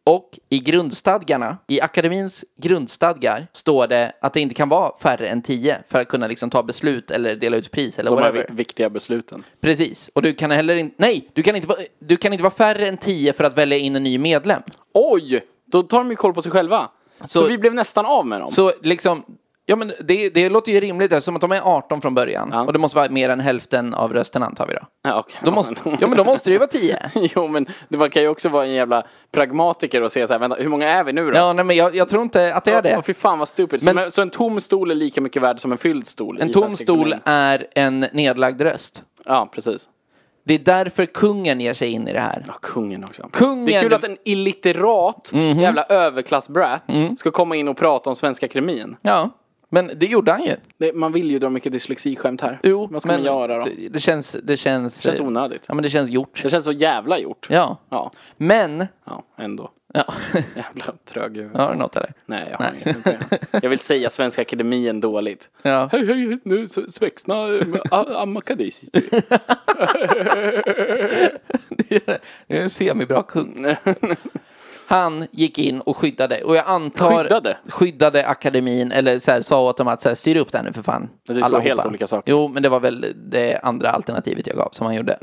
B: Och i grundstadgarna, i akademins grundstadgar, står det att det inte kan vara färre än tio för att kunna liksom ta beslut eller dela ut pris eller
A: De här
B: whatever.
A: vi- viktiga besluten.
B: Precis. Och du kan heller inte, nej, du kan inte, vara- du kan inte vara färre än tio för att välja in en ny medlem.
A: Oj! Då tar de ju koll på sig själva. Så,
B: Så-
A: vi blev nästan av med dem.
B: Så liksom, ja men det, det låter ju rimligt eftersom att de är 18 från början.
A: Ja.
B: Och det måste vara mer än hälften av rösterna antar vi då.
A: ja, okej.
B: Då måste, ja men då måste det ju vara 10.
A: Jo, men det- man kan ju också vara en jävla pragmatiker och säga så här, vänta, hur många är vi nu då?
B: Ja, nej, men jag, jag tror inte att det är
A: Åh,
B: det.
A: fy fan vad stupid.
B: Men-
A: så, så en tom stol är lika mycket värd som en fylld stol? i
B: En tom
A: svensk
B: stol
A: ekonomi?
B: är en nedlagd röst.
A: Ja, precis.
B: Det är därför kungen ger sig in i det här.
A: Ja, kungen också.
B: Kungen- Mhm.
A: Det är kul att en illiterat jävla överklassbrat
B: Mm.
A: ska komma in och prata om Svenska Akademin.
B: Ja, men det gjorde han ju.
A: Det, man vill ju dra mycket dyslexiskämt här.
B: Jo,
A: vad ska
B: men
A: man göra då?
B: Det, det, känns, det känns...
A: känns onödigt.
B: Ja, men det känns gjort.
A: Det känns så jävla gjort.
B: Ja.
A: Ja,
B: Men...
A: ja ändå.
B: Ja.
A: Jävla trög
B: Har du något eller?
A: Nej, jag har inget. Jag vill säga Svenska Akademien dåligt.
B: Ja.
A: Hej, hej, nu s- svexna eh, a- amakadis.
B: Det är en semibra kung. Han gick in och skyddade. Och jag antar...
A: Skyddade?
B: Skyddade akademin. Eller så här, sa åt dem att så här, styr upp det här nu för fan.
A: Det är två
B: Allihopa.
A: helt olika saker.
B: Jo, men det var väl det andra alternativet jag gav som han gjorde.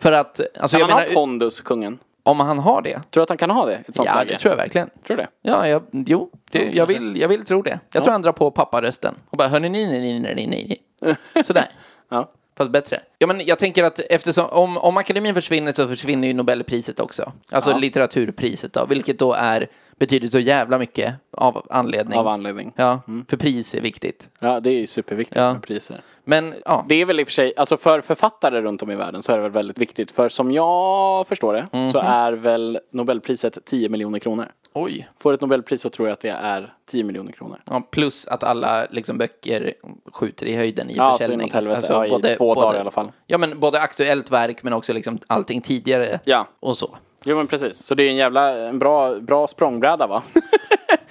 B: för att... Alltså,
A: Kan
B: jag
A: han ha
B: menar,
A: pondus, kungen?
B: om han har det.
A: Tror du att han kan ha det i ett sånt
B: Ja,
A: läge?
B: det tror jag verkligen.
A: Tror du det?
B: Ja, jag, jo, det, jag, vill, jag vill tro det. Jag tror han drar på papparösten och bara hörni, ni, ni, ni, ni, ni, ni. Sådär.
A: Ja.
B: Fast bättre. Ja, men jag tänker att eftersom, om, om akademin försvinner så försvinner ju Nobelpriset också. Alltså litteraturpriset då, vilket då är betyder så jävla mycket av anledning.
A: Av Mm. anledning. Ja,
B: Ja, för pris är viktigt.
A: det är ju superviktigt
B: Ja.
A: med priser.
B: Men ja,
A: Det är väl i och för sig, alltså för författare runt om i världen så är det väl väldigt viktigt. För som jag förstår det så är väl Nobelpriset 10 miljoner kronor.
B: oj.
A: Får ett Nobelpris så tror jag att det är 10 miljoner kronor.
B: Ja, plus att alla liksom, böcker skjuter i höjden i
A: Ja, så
B: försäljning. Alltså,
A: inåt helvete. Ja, i två dagar i alla fall.
B: Ja, men både aktuellt verk men också liksom allting tidigare
A: Ja.
B: och så.
A: Jo men precis, så det är en jävla en bra, bra språngbräda va?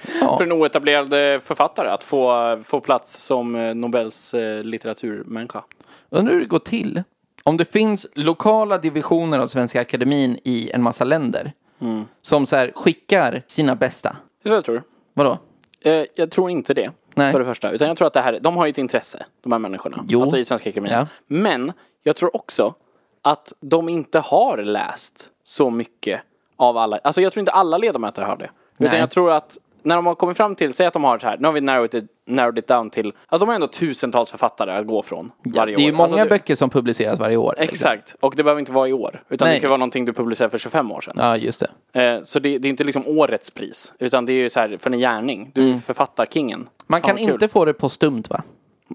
A: För en oetablerad eh, författare att få, få plats som eh, Nobels eh, litteraturmänniska.
B: Undrar hur det går till. Om det finns lokala divisioner av Svenska Akademin i en massa länder
A: Mm.
B: som så här skickar sina bästa.
A: Vet du vad jag tror?
B: Vadå?
A: Eh, jag tror inte det.
B: Nej.
A: För det första. Utan jag tror att det här, de har ju ett intresse, de här människorna.
B: Jo.
A: Alltså i Svenska Akademin.
B: Ja.
A: Men jag tror också att de inte har läst så mycket av alla. Alltså jag tror inte alla ledamöter har det. Utan
B: Nej.
A: jag tror att när de har kommit fram till, säg att de har det här, nu har vi narrowed it, narrowed it down till, alltså de har ändå tusentals författare att gå från varje år.
B: det är ju många
A: alltså, du-
B: böcker som publiceras varje år. liksom.
A: Exakt, och det behöver inte vara i år. Utan
B: Nej.
A: det kan vara någonting du publicerade för 25 år sedan.
B: Ja, just det.
A: Eh, Så det, det är inte liksom årets pris, utan det är ju så här för en gärning. Du är författarkingen.
B: Mm. Man
A: Fan,
B: kan
A: vad kul.
B: inte få det postumt, va?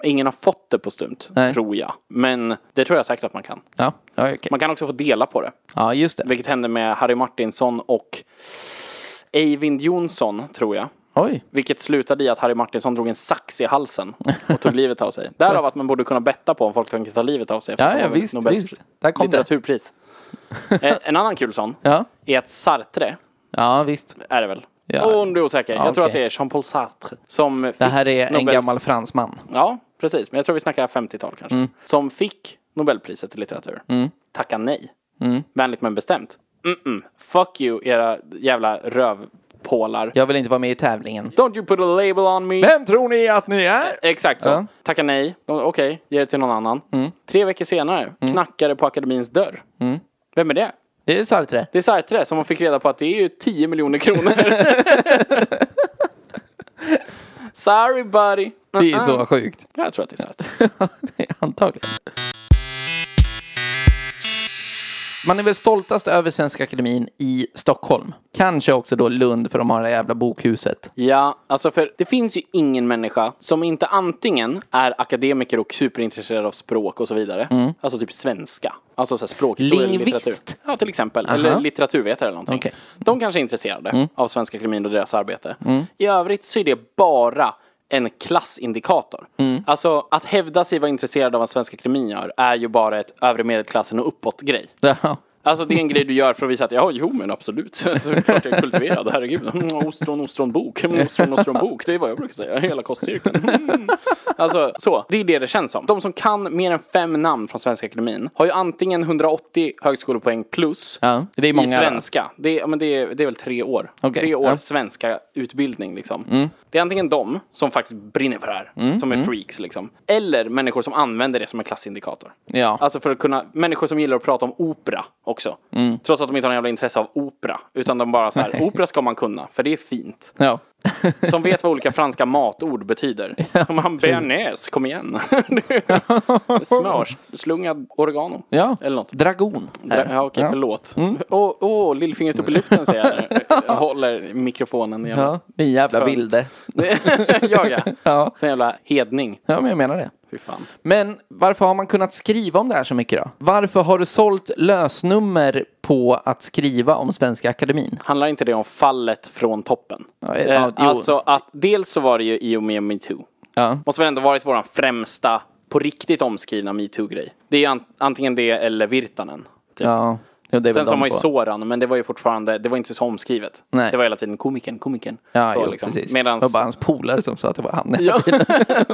A: Ingen har fått det på stumt,
B: Nej.
A: tror jag. Men det tror jag säkert att man kan.
B: Ja, ja, okej.
A: Man kan också få dela på det.
B: ja just det.
A: Vilket hände med Harry Martinsson och Eivind Jonsson, tror jag.
B: Oj.
A: Vilket slutade i att Harry Martinsson drog en sax i halsen och tog livet av sig. Därav att man borde kunna betta på om folk tänker ta livet av sig efter
B: Ja,
A: att de
B: ja,
A: har vunnit
B: visst,
A: Nobels
B: visst. Där kom det.
A: litteraturpris. Eh, en annan kul sån
B: Ja.
A: är att Sartre,
B: ja, visst.
A: är det väl?
B: Ja.
A: Och om du är osäker. jag tror att
B: okej.
A: det är Jean-Paul Sartre som fick
B: Det här är en
A: Nobels-
B: gammal Mm. fransman.
A: Ja, precis. Men jag tror vi snackar 50-tal kanske. Som fick Nobelpriset i litteratur.
B: Mm.
A: Tacka nej. Vänligt men bestämt. Mm-mm. Fuck you, era jävla rövpålar.
B: Jag vill inte vara med i tävlingen.
A: Don't you put a label on me.
B: Vem tror ni att ni är?
A: Exakt så.
B: Ja. Mm.
A: Tacka nej. De- Okej, ge det till någon annan. Tre veckor senare knackade på akademins dörr. Vem är det?
B: Det är Sartre.
A: Det är Sartre som man fick reda på att det är ju 10 miljoner kronor. Sorry buddy.
B: Det är så sjukt.
A: Jag tror att det är Sartre.
B: Det är Antagligen. Man är väl stoltast över Svenska Akademin i Stockholm. Kanske också då Lund för de har det jävla bokhuset.
A: Ja, alltså för det finns ju ingen människa som inte antingen är akademiker och superintresserad av språk och så vidare. Alltså typ svenska. Alltså så här språkhistoria eller
B: Lingvist.
A: litteratur. Ja, till exempel. Eller litteraturvetare eller någonting.
B: Okej.
A: De kanske är intresserade av Svenska Akademin och deras arbete. I övrigt så är det bara en klassindikator. Alltså att hävda sig vara intresserad av vad Svenska Akademin gör är ju bara ett övre medelklassen och uppåt grej.
B: Ja,
A: Alltså det är en grej du gör för att visa att ja, jo men absolut. Så klart jag är kultiverad, herregud. Mm, ostron, ostronbok. Mm, ostron, ostronbok. Det är vad jag brukar säga, hela kostcirkeln. Mm. Alltså så, det är det det känns som. De som kan mer än fem namn från Svenska Akademin har ju antingen 180 högskolepoäng plus
B: Ja, det är
A: i
B: många.
A: svenska. Det är, ja, men det, är, det är väl tre år.
B: Okej,
A: Tre år
B: ja. Mm.
A: svenska utbildning liksom. Det är antingen de som faktiskt brinner för det här, som är freaks liksom. Eller människor som använder det som en klassindikator.
B: Ja.
A: Alltså för att kunna, människor som gillar att prata om opera också.
B: Mm.
A: Trots att de inte har någon jävla intresse av opera. Utan de bara så här, opera ska man kunna, för det är fint.
B: Ja.
A: Som vet vad olika franska matord betyder. Om man bearnaise, kom igen. Smörslungad oregano.
B: ja. Mm.
A: Eller något.
B: Dragon.
A: Dra- Ja, okej, förlåt. Åh, åh, lillfingret upp i luften säger jag. nu. jag. Håller mikrofonen i jävla...
B: Ja, min jävla
A: Tönt.
B: vilde.
A: jag ja.
B: Ja.
A: Sån jävla hedning.
B: ja, men jag menar det.
A: Fy fan.
B: Men varför har man kunnat skriva om det här så mycket då? Varför har du sålt lösnummer på att skriva om Svenska Akademin?
A: Handlar inte det om fallet från toppen?
B: Ja,
A: Eh,
B: ja, jo.
A: alltså att dels så var det ju i och med metoo.
B: Ja.
A: Måste väl ändå varit våran främsta, på riktigt omskrivna metoo-grej. Det är ju an- antingen det eller Virtanen. Typ.
B: Ja, jo, det är
A: Sen
B: väl
A: sa
B: de
A: man ju
B: två.
A: Soran, men det var ju fortfarande, det var inte så omskrivet.
B: Nej.
A: Det var hela tiden komikern, komikern.
B: Ja,
A: så, liksom.
B: jo, precis.
A: Medans...
B: Det var bara hans polare som sa att det var han.
A: Ja,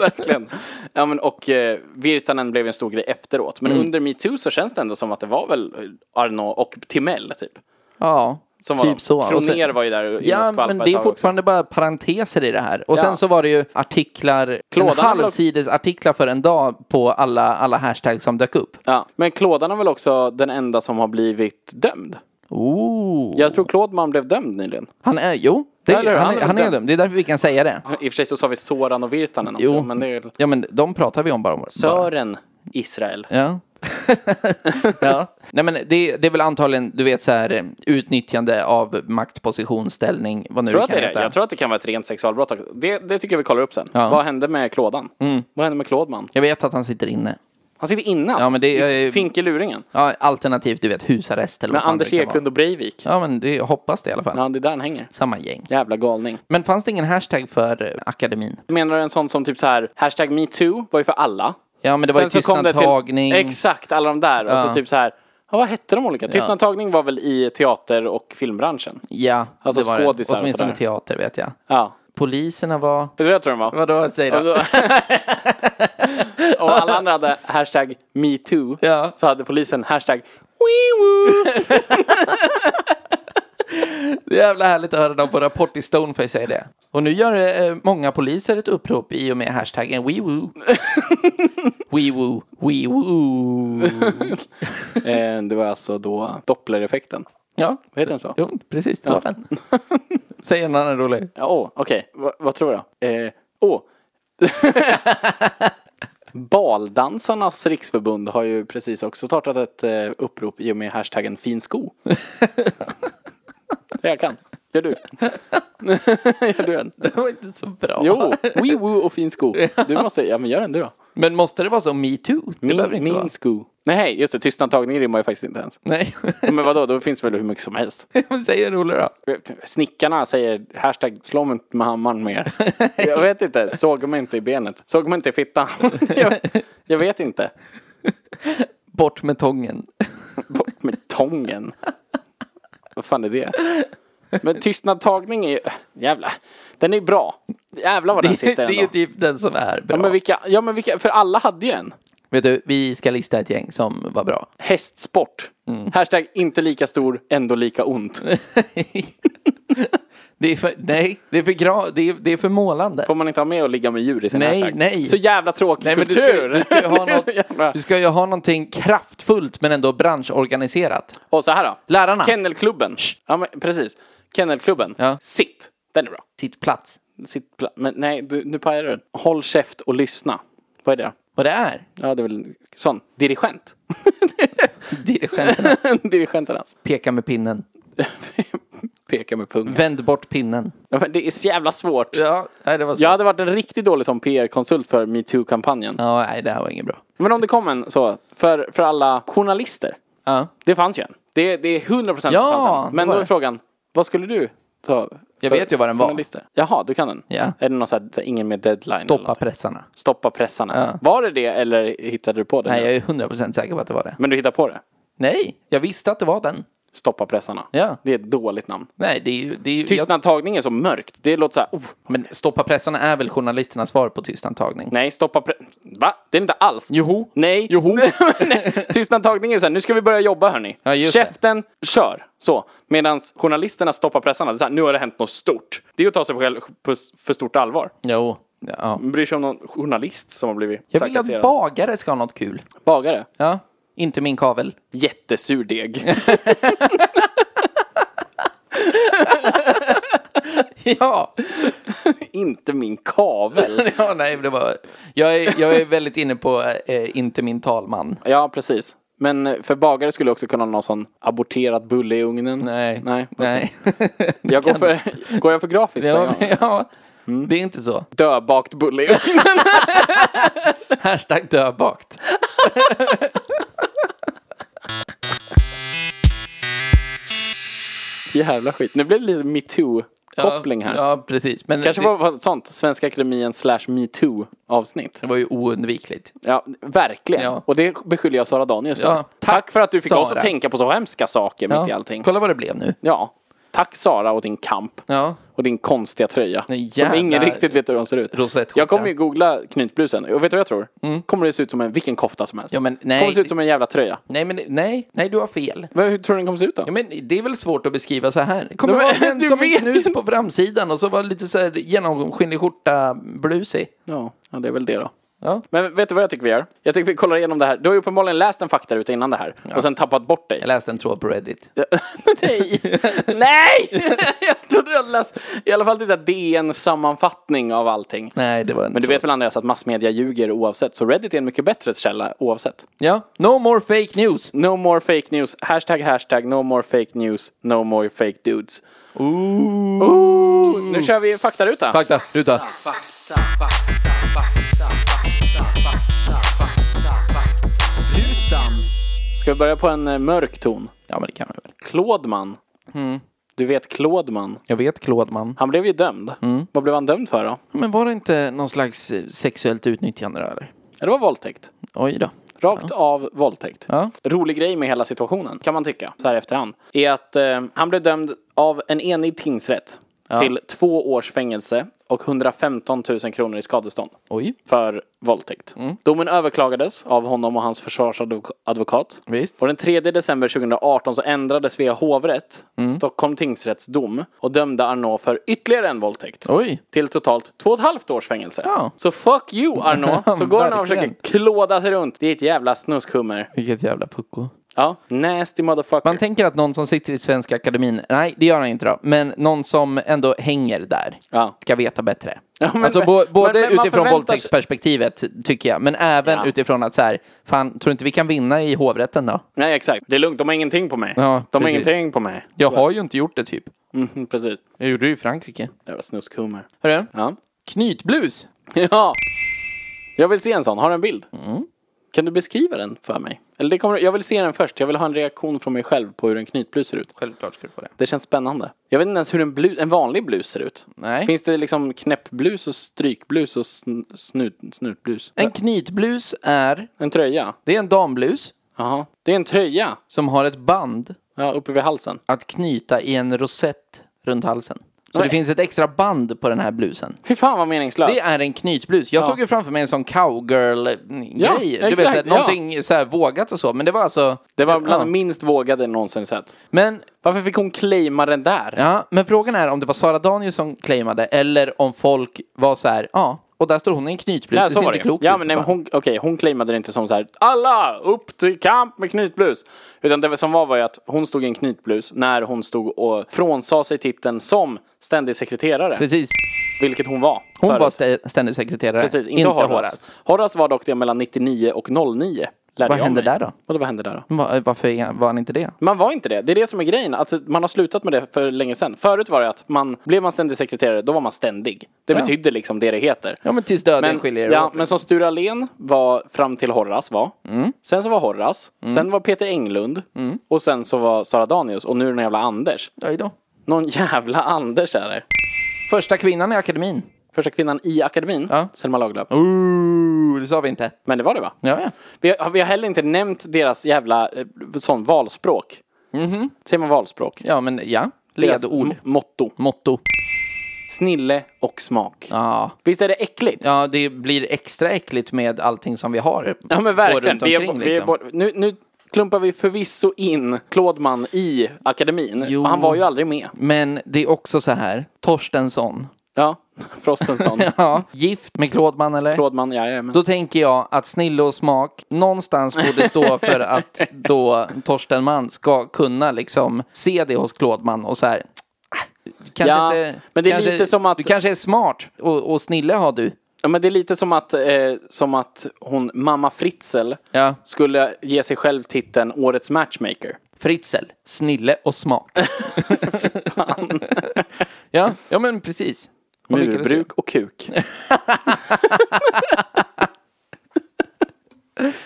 A: verkligen. Ja, men, och eh, Virtanen blev ju en stor grej efteråt.
B: Mm.
A: Men under metoo så känns det ändå som att det var väl Arnaud och Timell typ.
B: Ja,
A: Som var
B: typ
A: de.
B: så. Och sen-
A: Kroner var ju där och
B: Ja,
A: skvalpade
B: men
A: ett
B: det är
A: tag också.
B: fortfarande bara parenteser i det här. Och
A: Ja.
B: sen så var det ju artiklar, en
A: Klådan har väl-
B: halvsides artiklar för en dag på alla, alla hashtags som dök upp.
A: Ja. Men Klådan är väl också den enda som har blivit dömd?
B: Ooh.
A: Jag tror Claude Malm blev dömd nyligen.
B: Han är, jo, det,
A: Ja, eller hur?
B: han,
A: Han
B: är,
A: är
B: han är
A: dömd.
B: dömd. Det är därför vi kan säga det.
A: I och för sig så sa vi Soran och Virtanen också.
B: Jo.
A: Men det är väl
B: Ja, men de pratar vi om bara. bara.
A: Sören Israel.
B: Ja. ja. Nej, men det, det är väl antagligen, du vet så här, utnyttjande av maktposition, ställning, vad nu
A: Tror
B: det
A: att
B: kan
A: det är det.
B: heta.
A: Jag tror att det kan vara ett rent sexualbrott. också. Det, det tycker jag vi kollar upp sen.
B: Ja. Mm.
A: Vad hände med Klådan? Vad hände med Klådman?
B: jag vet att han sitter inne.
A: Han sitter inne alltså.
B: Ja, men det
A: I
B: är-
A: Finkeluringen.
B: Ja, alternativt, du vet, husarrest eller
A: Med
B: vad fan
A: Anders
B: det kan vara.
A: Eklund och Breivik.
B: Ja, men det jag hoppas det i alla fall.
A: Ja, det är där han hänger.
B: Samma gäng.
A: Jävla galning.
B: Men fanns det ingen hashtag för eh, akademin?
A: Menar du en sån som typ så här, hashtag metoo var ju för alla.
B: Ja, men det var ju
A: så kom det till-
B: tystnadtagning.
A: Exakt, alla de där. Och
B: Ja.
A: så typ så här, ja, vad hette de olika? Tystnadtagning var väl i teater och filmbranschen?
B: ja,
A: Alltså
B: det var det.
A: skådisar och
B: Åtminstone
A: sådär.
B: teater vet jag.
A: Ja.
B: Poliserna var...
A: Vet du vad jag tror de var?
B: Vadå, säg
A: Alltså-
B: då.
A: Om alla andra hade hashtag metoo
B: Ja.
A: så hade polisen hashtag
B: Det är jävla härligt att höra dem på Rapport i Stoneface säga det. Och nu gör eh, många poliser ett upprop i och med hashtaggen WeWoo. WeWoo, WeWoo.
A: eh, Det var alltså då dopplereffekten.
B: Ja,
A: Vad heter den så?
B: jo, precis, det var den. Säg en annan rolig.
A: Ja, Åh, okej. Va- vad tror du? då? Eh, åh. Baldansarnas riksförbund har ju precis också startat ett eh, upprop i och med hashtaggen fin sko. det jag kan. Gör du? gör du en?
B: Det var inte så bra.
A: Jo, wee woo och fin sko. Du måste, ja men gör den du då.
B: Men måste det vara så metoo? Det behöver
A: Min,
B: inte vara.
A: min sko. Nej, just det, tystnadtagning rimmar ju faktiskt inte ens.
B: Nej,
A: Men vadå, då finns det väl hur mycket som helst.
B: men säg en rolig då.
A: Snickarna säger hashtag slå mig inte med hammaren mer. Jag vet inte, såg mig inte i benet. Såg mig inte i fittan. Jag, jag vet inte.
B: Bort med tången.
A: Bort med tången. Vad fan är det? Men tystnadtagning är ju, jävla, den är ju bra. Jävlar vad den
B: Det,
A: sitter
B: är ju
A: ändå.
B: typ den som är bra.
A: Ja men, vilka, ja men vilka, för alla hade ju en.
B: Vet du, vi ska lista ett gäng som var bra.
A: Hästsport.
B: Mm.
A: Hashtag inte lika stor, ändå lika ont.
B: Det är för, nej, det är för, gra, det är, det är för målande.
A: Får man inte ha med och ligga med djur i sin
B: Nej,
A: hashtag?
B: nej.
A: Så jävla tråkig
B: Nej, men du, ska,
A: kultur.
B: du, ska ju ha
A: Det är så jävla-
B: något, du ska ju ha någonting kraftfullt men ändå branschorganiserat.
A: Och så här då.
B: Lärarna.
A: Kennelklubben. Ja, men precis. Kennelklubben.
B: Ja.
A: Sitt. Den är bra.
B: Sitt plats.
A: Sitt pla- men nej, du, nu pajar du den. Håll käft och lyssna. Vad är det?
B: Vad det är?
A: Ja, det är väl sån. Dirigent.
B: Dirigenterna
A: Dirigenternas.
B: pekar med pinnen.
A: Peka med pungen.
B: Vänd bort pinnen.
A: Ja, men det är så jävla svårt.
B: Ja, nej, det var så.
A: Jag hade varit en riktigt dålig som PR-konsult för metoo-kampanjen.
B: Ja, nej, det här var inget bra.
A: Men om det kom en så, för, för alla journalister.
B: Ja.
A: Det fanns ju en. Det, det är 100 procent
B: Ja,
A: det fanns
B: det
A: en. Men
B: var
A: då är
B: det.
A: frågan, vad skulle du ta?
B: Jag
A: för
B: vet ju vad den var.
A: journalister? Jaha, du kan den?
B: Ja.
A: Är det någon sån här, ingen med deadline? eller
B: Stoppa
A: något?
B: pressarna.
A: Stoppa pressarna. Var det det eller hittade du på det?
B: Nej,
A: nu?
B: jag är 100% säker på att det var det.
A: Men du hittade på det?
B: Nej, jag visste att det var den.
A: Stoppa pressarna.
B: Ja.
A: Det är ett dåligt namn.
B: Nej, det är ju... Det är ju jag,
A: Tystnadtagning är så mörkt. Det låter så här, oh,
B: men stoppa pressarna är väl journalisternas svar på tystantagning?
A: nej, stoppa pre- Va? Det är inte alls.
B: Joho.
A: Nej.
B: Joho.
A: Nej. Tystnadtagning är så här, nu ska vi börja jobba hörni.
B: Ja, just det.
A: Käften, kör. Så. Medan journalisterna stoppar pressarna. Det är så här, nu har det hänt något stort. Det är ju att ta sig själv på för stort allvar.
B: Jo. Ja.
A: Bryr sig om någon journalist som har blivit
B: Jag vill att bagare ska ha något kul.
A: bagare.
B: Ja. Inte min kavel.
A: Jättesur deg.
B: Ja.
A: inte min kavel.
B: ja nej, det var... Jag är, jag är väldigt inne på eh, inte min talman.
A: Ja, precis. Men eh, för bagare skulle också kunna ha någon sån aborterad bulle i ugnen.
B: Nej.
A: Nej.
B: Nej.
A: Jag går, för, går jag för grafiskt?
B: ja,
A: Ja.
B: ja.
A: Mm.
B: Det är inte så.
A: Döbakt bulle i ugnen.
B: Hashtag döbakt.
A: Jävla skit. Nu blev det lite metoo-koppling här.
B: Ja, precis. Men
A: Kanske
B: det,
A: var var ett sånt Svenska Akademien slash metoo avsnitt.
B: det var ju oundvikligt.
A: Ja, verkligen.
B: Ja.
A: Och det beskyller jag Sara Danius för.
B: Ja,
A: Tack,
B: tack,
A: för att du fick oss
B: Sara.
A: att tänka på så hemska saker mitt i allting.
B: Kolla vad det blev nu.
A: Ja. Tack Sara och din kamp.
B: Ja.
A: Och din konstiga tröja.
B: Den
A: Som ingen
B: jävla
A: riktigt vet hur de ser ut.
B: rosettskjorta.
A: Jag kommer ju googla knytblusen. Och vet du vad jag tror? Kommer det se ut som en, vilken kofta som helst.
B: Mm. Ja, men nej.
A: Kommer se ut som en jävla tröja.
B: Nej, men nej, nej, du har fel.
A: Men Hur tror du den kommer se ut då?
B: Ja, men det är väl svårt att beskriva så här. Det kommer
A: Nej,
B: vara
A: men
B: en
A: du
B: som en
A: vet
B: knut
A: inte.
B: på framsidan och så var det lite så här genomskinlig skjorta blusig.
A: Ja, ja, det är väl det då.
B: Ja.
A: Men vet du vad jag tycker vi gör? Jag tycker vi kollar igenom det här. Du har ju uppenbarligen läst en faktaruta innan det här och sen tappat bort dig.
B: Jag läste en tråd på Reddit.
A: Nej! Nej! jag trodde du hade läst i alla fall typ så här DN-sammanfattning av allting.
B: Nej, det var en
A: Men du
B: tråd.
A: vet väl Andreas att massmedia ljuger oavsett, så Reddit är en mycket bättre källa oavsett.
B: Ja, no more fake news.
A: No more fake news, hashtag hashtag no more fake news, no more fake dudes. Ooh. Nu kör vi faktaruta.
B: Fakta, ruta.
A: Ska vi börja på en eh, mörk ton?
B: Ja, men det kan man väl.
A: Klådman.
B: Mm.
A: Du vet Klådman.
B: Jag vet Klådman.
A: Han blev ju dömd.
B: Mm.
A: Vad blev han dömd för då?
B: Men var det inte någon slags eh, sexuellt utnyttjande då, eller?
A: Ja, Det var våldtäkt.
B: Oj då.
A: Rakt av våldtäkt.
B: Ja.
A: Rolig grej med hela situationen, kan man tycka, så här efterhand, är att eh, han blev dömd av en enig tingsrätt till två års fängelse och 115 000 kronor i skadestånd
B: Oj,
A: för våldtäkt.
B: Mm.
A: Domen överklagades av honom och hans försvarsadvokat.
B: Visst.
A: Och den 3 december 2018 så ändrade Svea hovrätt
B: Mm.
A: Stockholm tingsrätts dom och dömde Arnault för ytterligare en våldtäkt
B: oj.
A: till totalt två och ett halvt års fängelse.
B: Ja.
A: Så fuck you Arnaud, så går han och
B: Verkligen.
A: försöker klåda sig runt. Det är ett jävla snuskhummer.
B: Vilket jävla pucko.
A: Ja, nasty motherfucker.
B: Man tänker att någon som sitter i Svenska Akademin, nej det gör han inte då, men någon som ändå hänger där
A: Ja.
B: ska veta bättre.
A: Ja, men-
B: alltså bo,
A: men-
B: både
A: men man
B: utifrån
A: förväntar sig-
B: våldtäktsperspektivet tycker jag, men även
A: Ja.
B: utifrån att så här, fan tror du inte vi kan vinna i hovrätten då?
A: Nej, exakt. Det är lugnt, de har ingenting på mig.
B: Ja,
A: de har
B: precis.
A: ingenting på mig.
B: Jag har ju inte gjort det typ.
A: Mm, precis.
B: Jag gjorde det ju i Frankrike.
A: Jävla snuskhummer.
B: Hörru,
A: Ja.
B: knytblus.
A: ja. Jag vill se en sån. Har du en bild?
B: Mm.
A: Kan du beskriva den för mig? Eller det kommer, jag vill se den först. Jag vill ha en reaktion från mig själv på hur en knytblus ser ut.
B: Självklart ska du få det.
A: Det känns spännande. Jag vet inte ens hur en, blu, en vanlig blus ser ut.
B: Nej.
A: Finns det liksom knäppblus och strykblus och sn, snut, snutblus?
B: En knytblus är,
A: En tröja?
B: det är en damblus
A: Jaha. Det är en tröja.
B: som har ett band
A: Ja, uppe vid halsen.
B: att knyta i en rosett runt halsen. Så
A: Nej.
B: det finns ett extra band på den här blusen.
A: Fy fan vad meningslöst.
B: Det är en knytblus. Jag såg ju framför mig en sån cowgirl-grej.
A: Ja,
B: du vet,
A: exakt,
B: såhär,
A: ja.
B: någonting såhär vågat och så. Men det var alltså...
A: Det var bland
B: ja.
A: det minst vågade jag någonsin sett.
B: Men,
A: Varför fick hon claima den där?
B: ja, men frågan är om det var Sara Danius som claimade eller om folk var så här, ja, och där står hon i en knytblus.
A: Ja,
B: det ser
A: så var
B: inte
A: det.
B: klokt
A: Ja,
B: ut, för
A: men nej, men
B: fan.
A: hon, okej, hon claimade det inte som så här alla upp till kamp med knytblus. Utan det som var var ju att hon stod i en knytblus när hon stod och frånsade sig titeln som ständig sekreterare.
B: Precis.
A: Vilket hon var.
B: Hon
A: förut.
B: var stä- ständig sekreterare.
A: Precis, inte, Horace. Horace. var dock det mellan 99 och 09. lärde
B: Vad
A: jag
B: hände
A: mig.
B: där då?
A: Vadå, vad hände där då?
B: Va- Varför är- var han inte det?
A: Man var inte det. Det är det som är grejen. Att man har slutat med det för länge sedan. Förut var det att man, blev man ständig sekreterare, då var man ständig. Det betydde liksom det det heter.
B: Ja, men tills döden skiljer er
A: ja,
B: åt. Mm.
A: men som Sture Allén var fram till Horras var. Sen så var Horras. Sen var Peter Englund. Och sen så var Sara Danius. Och nu den jävla Anders.
B: Oj då.
A: Någon jävla Anders är det.
B: Första kvinnan i akademin.
A: Första kvinnan i akademin,
B: Ja. Mm.
A: Selma Lagerlöf.
B: Ooh, det sa vi inte.
A: Men det var det va?
B: Ja, ja.
A: Vi har, vi har heller inte nämnt deras jävla eh, sån valspråk. Säger man valspråk?
B: ja men ja.
A: Deras
B: Mm-hmm. Ledord.
A: m- Motto.
B: Motto.
A: Snille och smak.
B: Ja.
A: Visst är det äckligt?
B: ja, det blir extra äckligt med allting som vi har.
A: Ja men
B: Och
A: verkligen.
B: runt
A: Vi är,
B: omkring,
A: vi är,
B: liksom.
A: bort- nu, nu klumpar vi förvisso in Klådman i akademin.
B: Jo.
A: Och han var ju aldrig med.
B: Men det är också så här, Torstensson.
A: Ja, Frostenson.
B: Ja, gift med Klådman eller?
A: Klådman, ja, ja, men.
B: Då tänker jag att snille och smak någonstans borde stå för att då Torsten Mann ska kunna liksom se det hos Klådman och så här. "Ah, du Kanske
A: Ja,
B: inte,
A: men det är
B: kanske,
A: lite som att-
B: Du kanske är smart och, och snille har du.
A: ja, men det är lite som att, eh, som att hon, mamma Fritzl,
B: Ja.
A: skulle ge sig själv titeln Årets Matchmaker.
B: Fritzl, snille och smak. ja, ja, men precis. Hon lyckades ju.
A: Murbruk och kuk.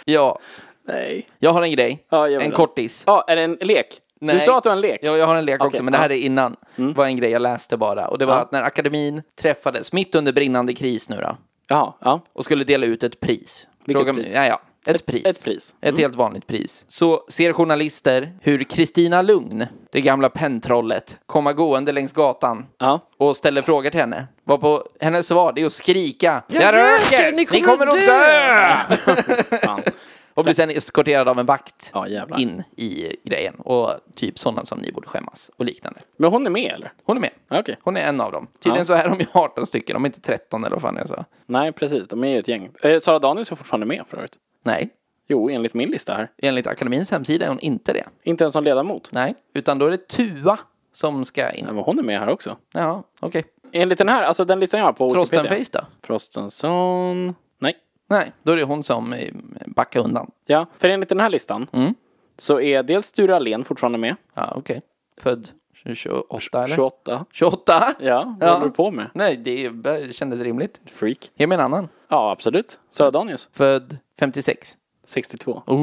B: Ja,
A: Nej.
B: jag har en grej.
A: Ja, jag vill
B: en
A: ha.
B: kortis.
A: Ja, är det en lek?
B: Nej.
A: Du sa att det var en lek.
B: Ja, jag har en lek
A: Okej,
B: också, men det här
A: ja. Mm.
B: är innan. Det var en grej jag läste bara. Och det var
A: Ja.
B: att när akademin träffades, mitt under brinnande kris nu då,
A: Jaha, ja.
B: och skulle dela ut ett pris.
A: Vilket
B: mig-
A: pris?
B: Ja, ja. Ett, pris.
A: ett pris. Mm.
B: Ett helt vanligt pris. Så ser journalister hur Kristina Lugn, det gamla penntrollet, komma gående längs gatan
A: Ja.
B: och ställer frågor till henne. Vad på hennes svar det är att skrika Jag röker! Ni kommer, att dö!
A: Fan.
B: Och blir sen eskorterad av en vakt
A: Ja, jävlar.
B: in i grejen. Och typ sådana som ni borde skämmas och liknande.
A: Men hon är med eller?
B: Hon är med.
A: Ja, Okej.
B: Hon är en av dem. Tydligen
A: Ja.
B: så är de ju 18 stycken, de är inte 13 eller vad fan jag sa.
A: Nej, precis. De är ju ett gäng. Eh, Sara Danius är fortfarande med för övrigt.
B: Nej,
A: Jo, enligt min lista här.
B: enligt akademins hemsida är hon inte det.
A: Inte ens som ledamot.
B: Nej, utan då är det Tua som ska in.
A: Men hon är med här också.
B: Ja, okej.
A: Enligt den här, alltså den listan jag har på Wikipedia.
B: Trostenface då?
A: Frostenson. Nej.
B: Nej, då är det hon som eh, backar undan.
A: Ja, för enligt den här listan
B: Mm.
A: så är dels Sture Allén fortfarande med.
B: Ja, okej. Född 28 eller?
A: 28.
B: 28?
A: Ja, vad håller du på med?
B: Nej, det är- kändes rimligt.
A: Freak.
B: Ge mig en annan.
A: Ja, absolut. Sara Danius.
B: Född 56.
A: 62.
B: Ooh.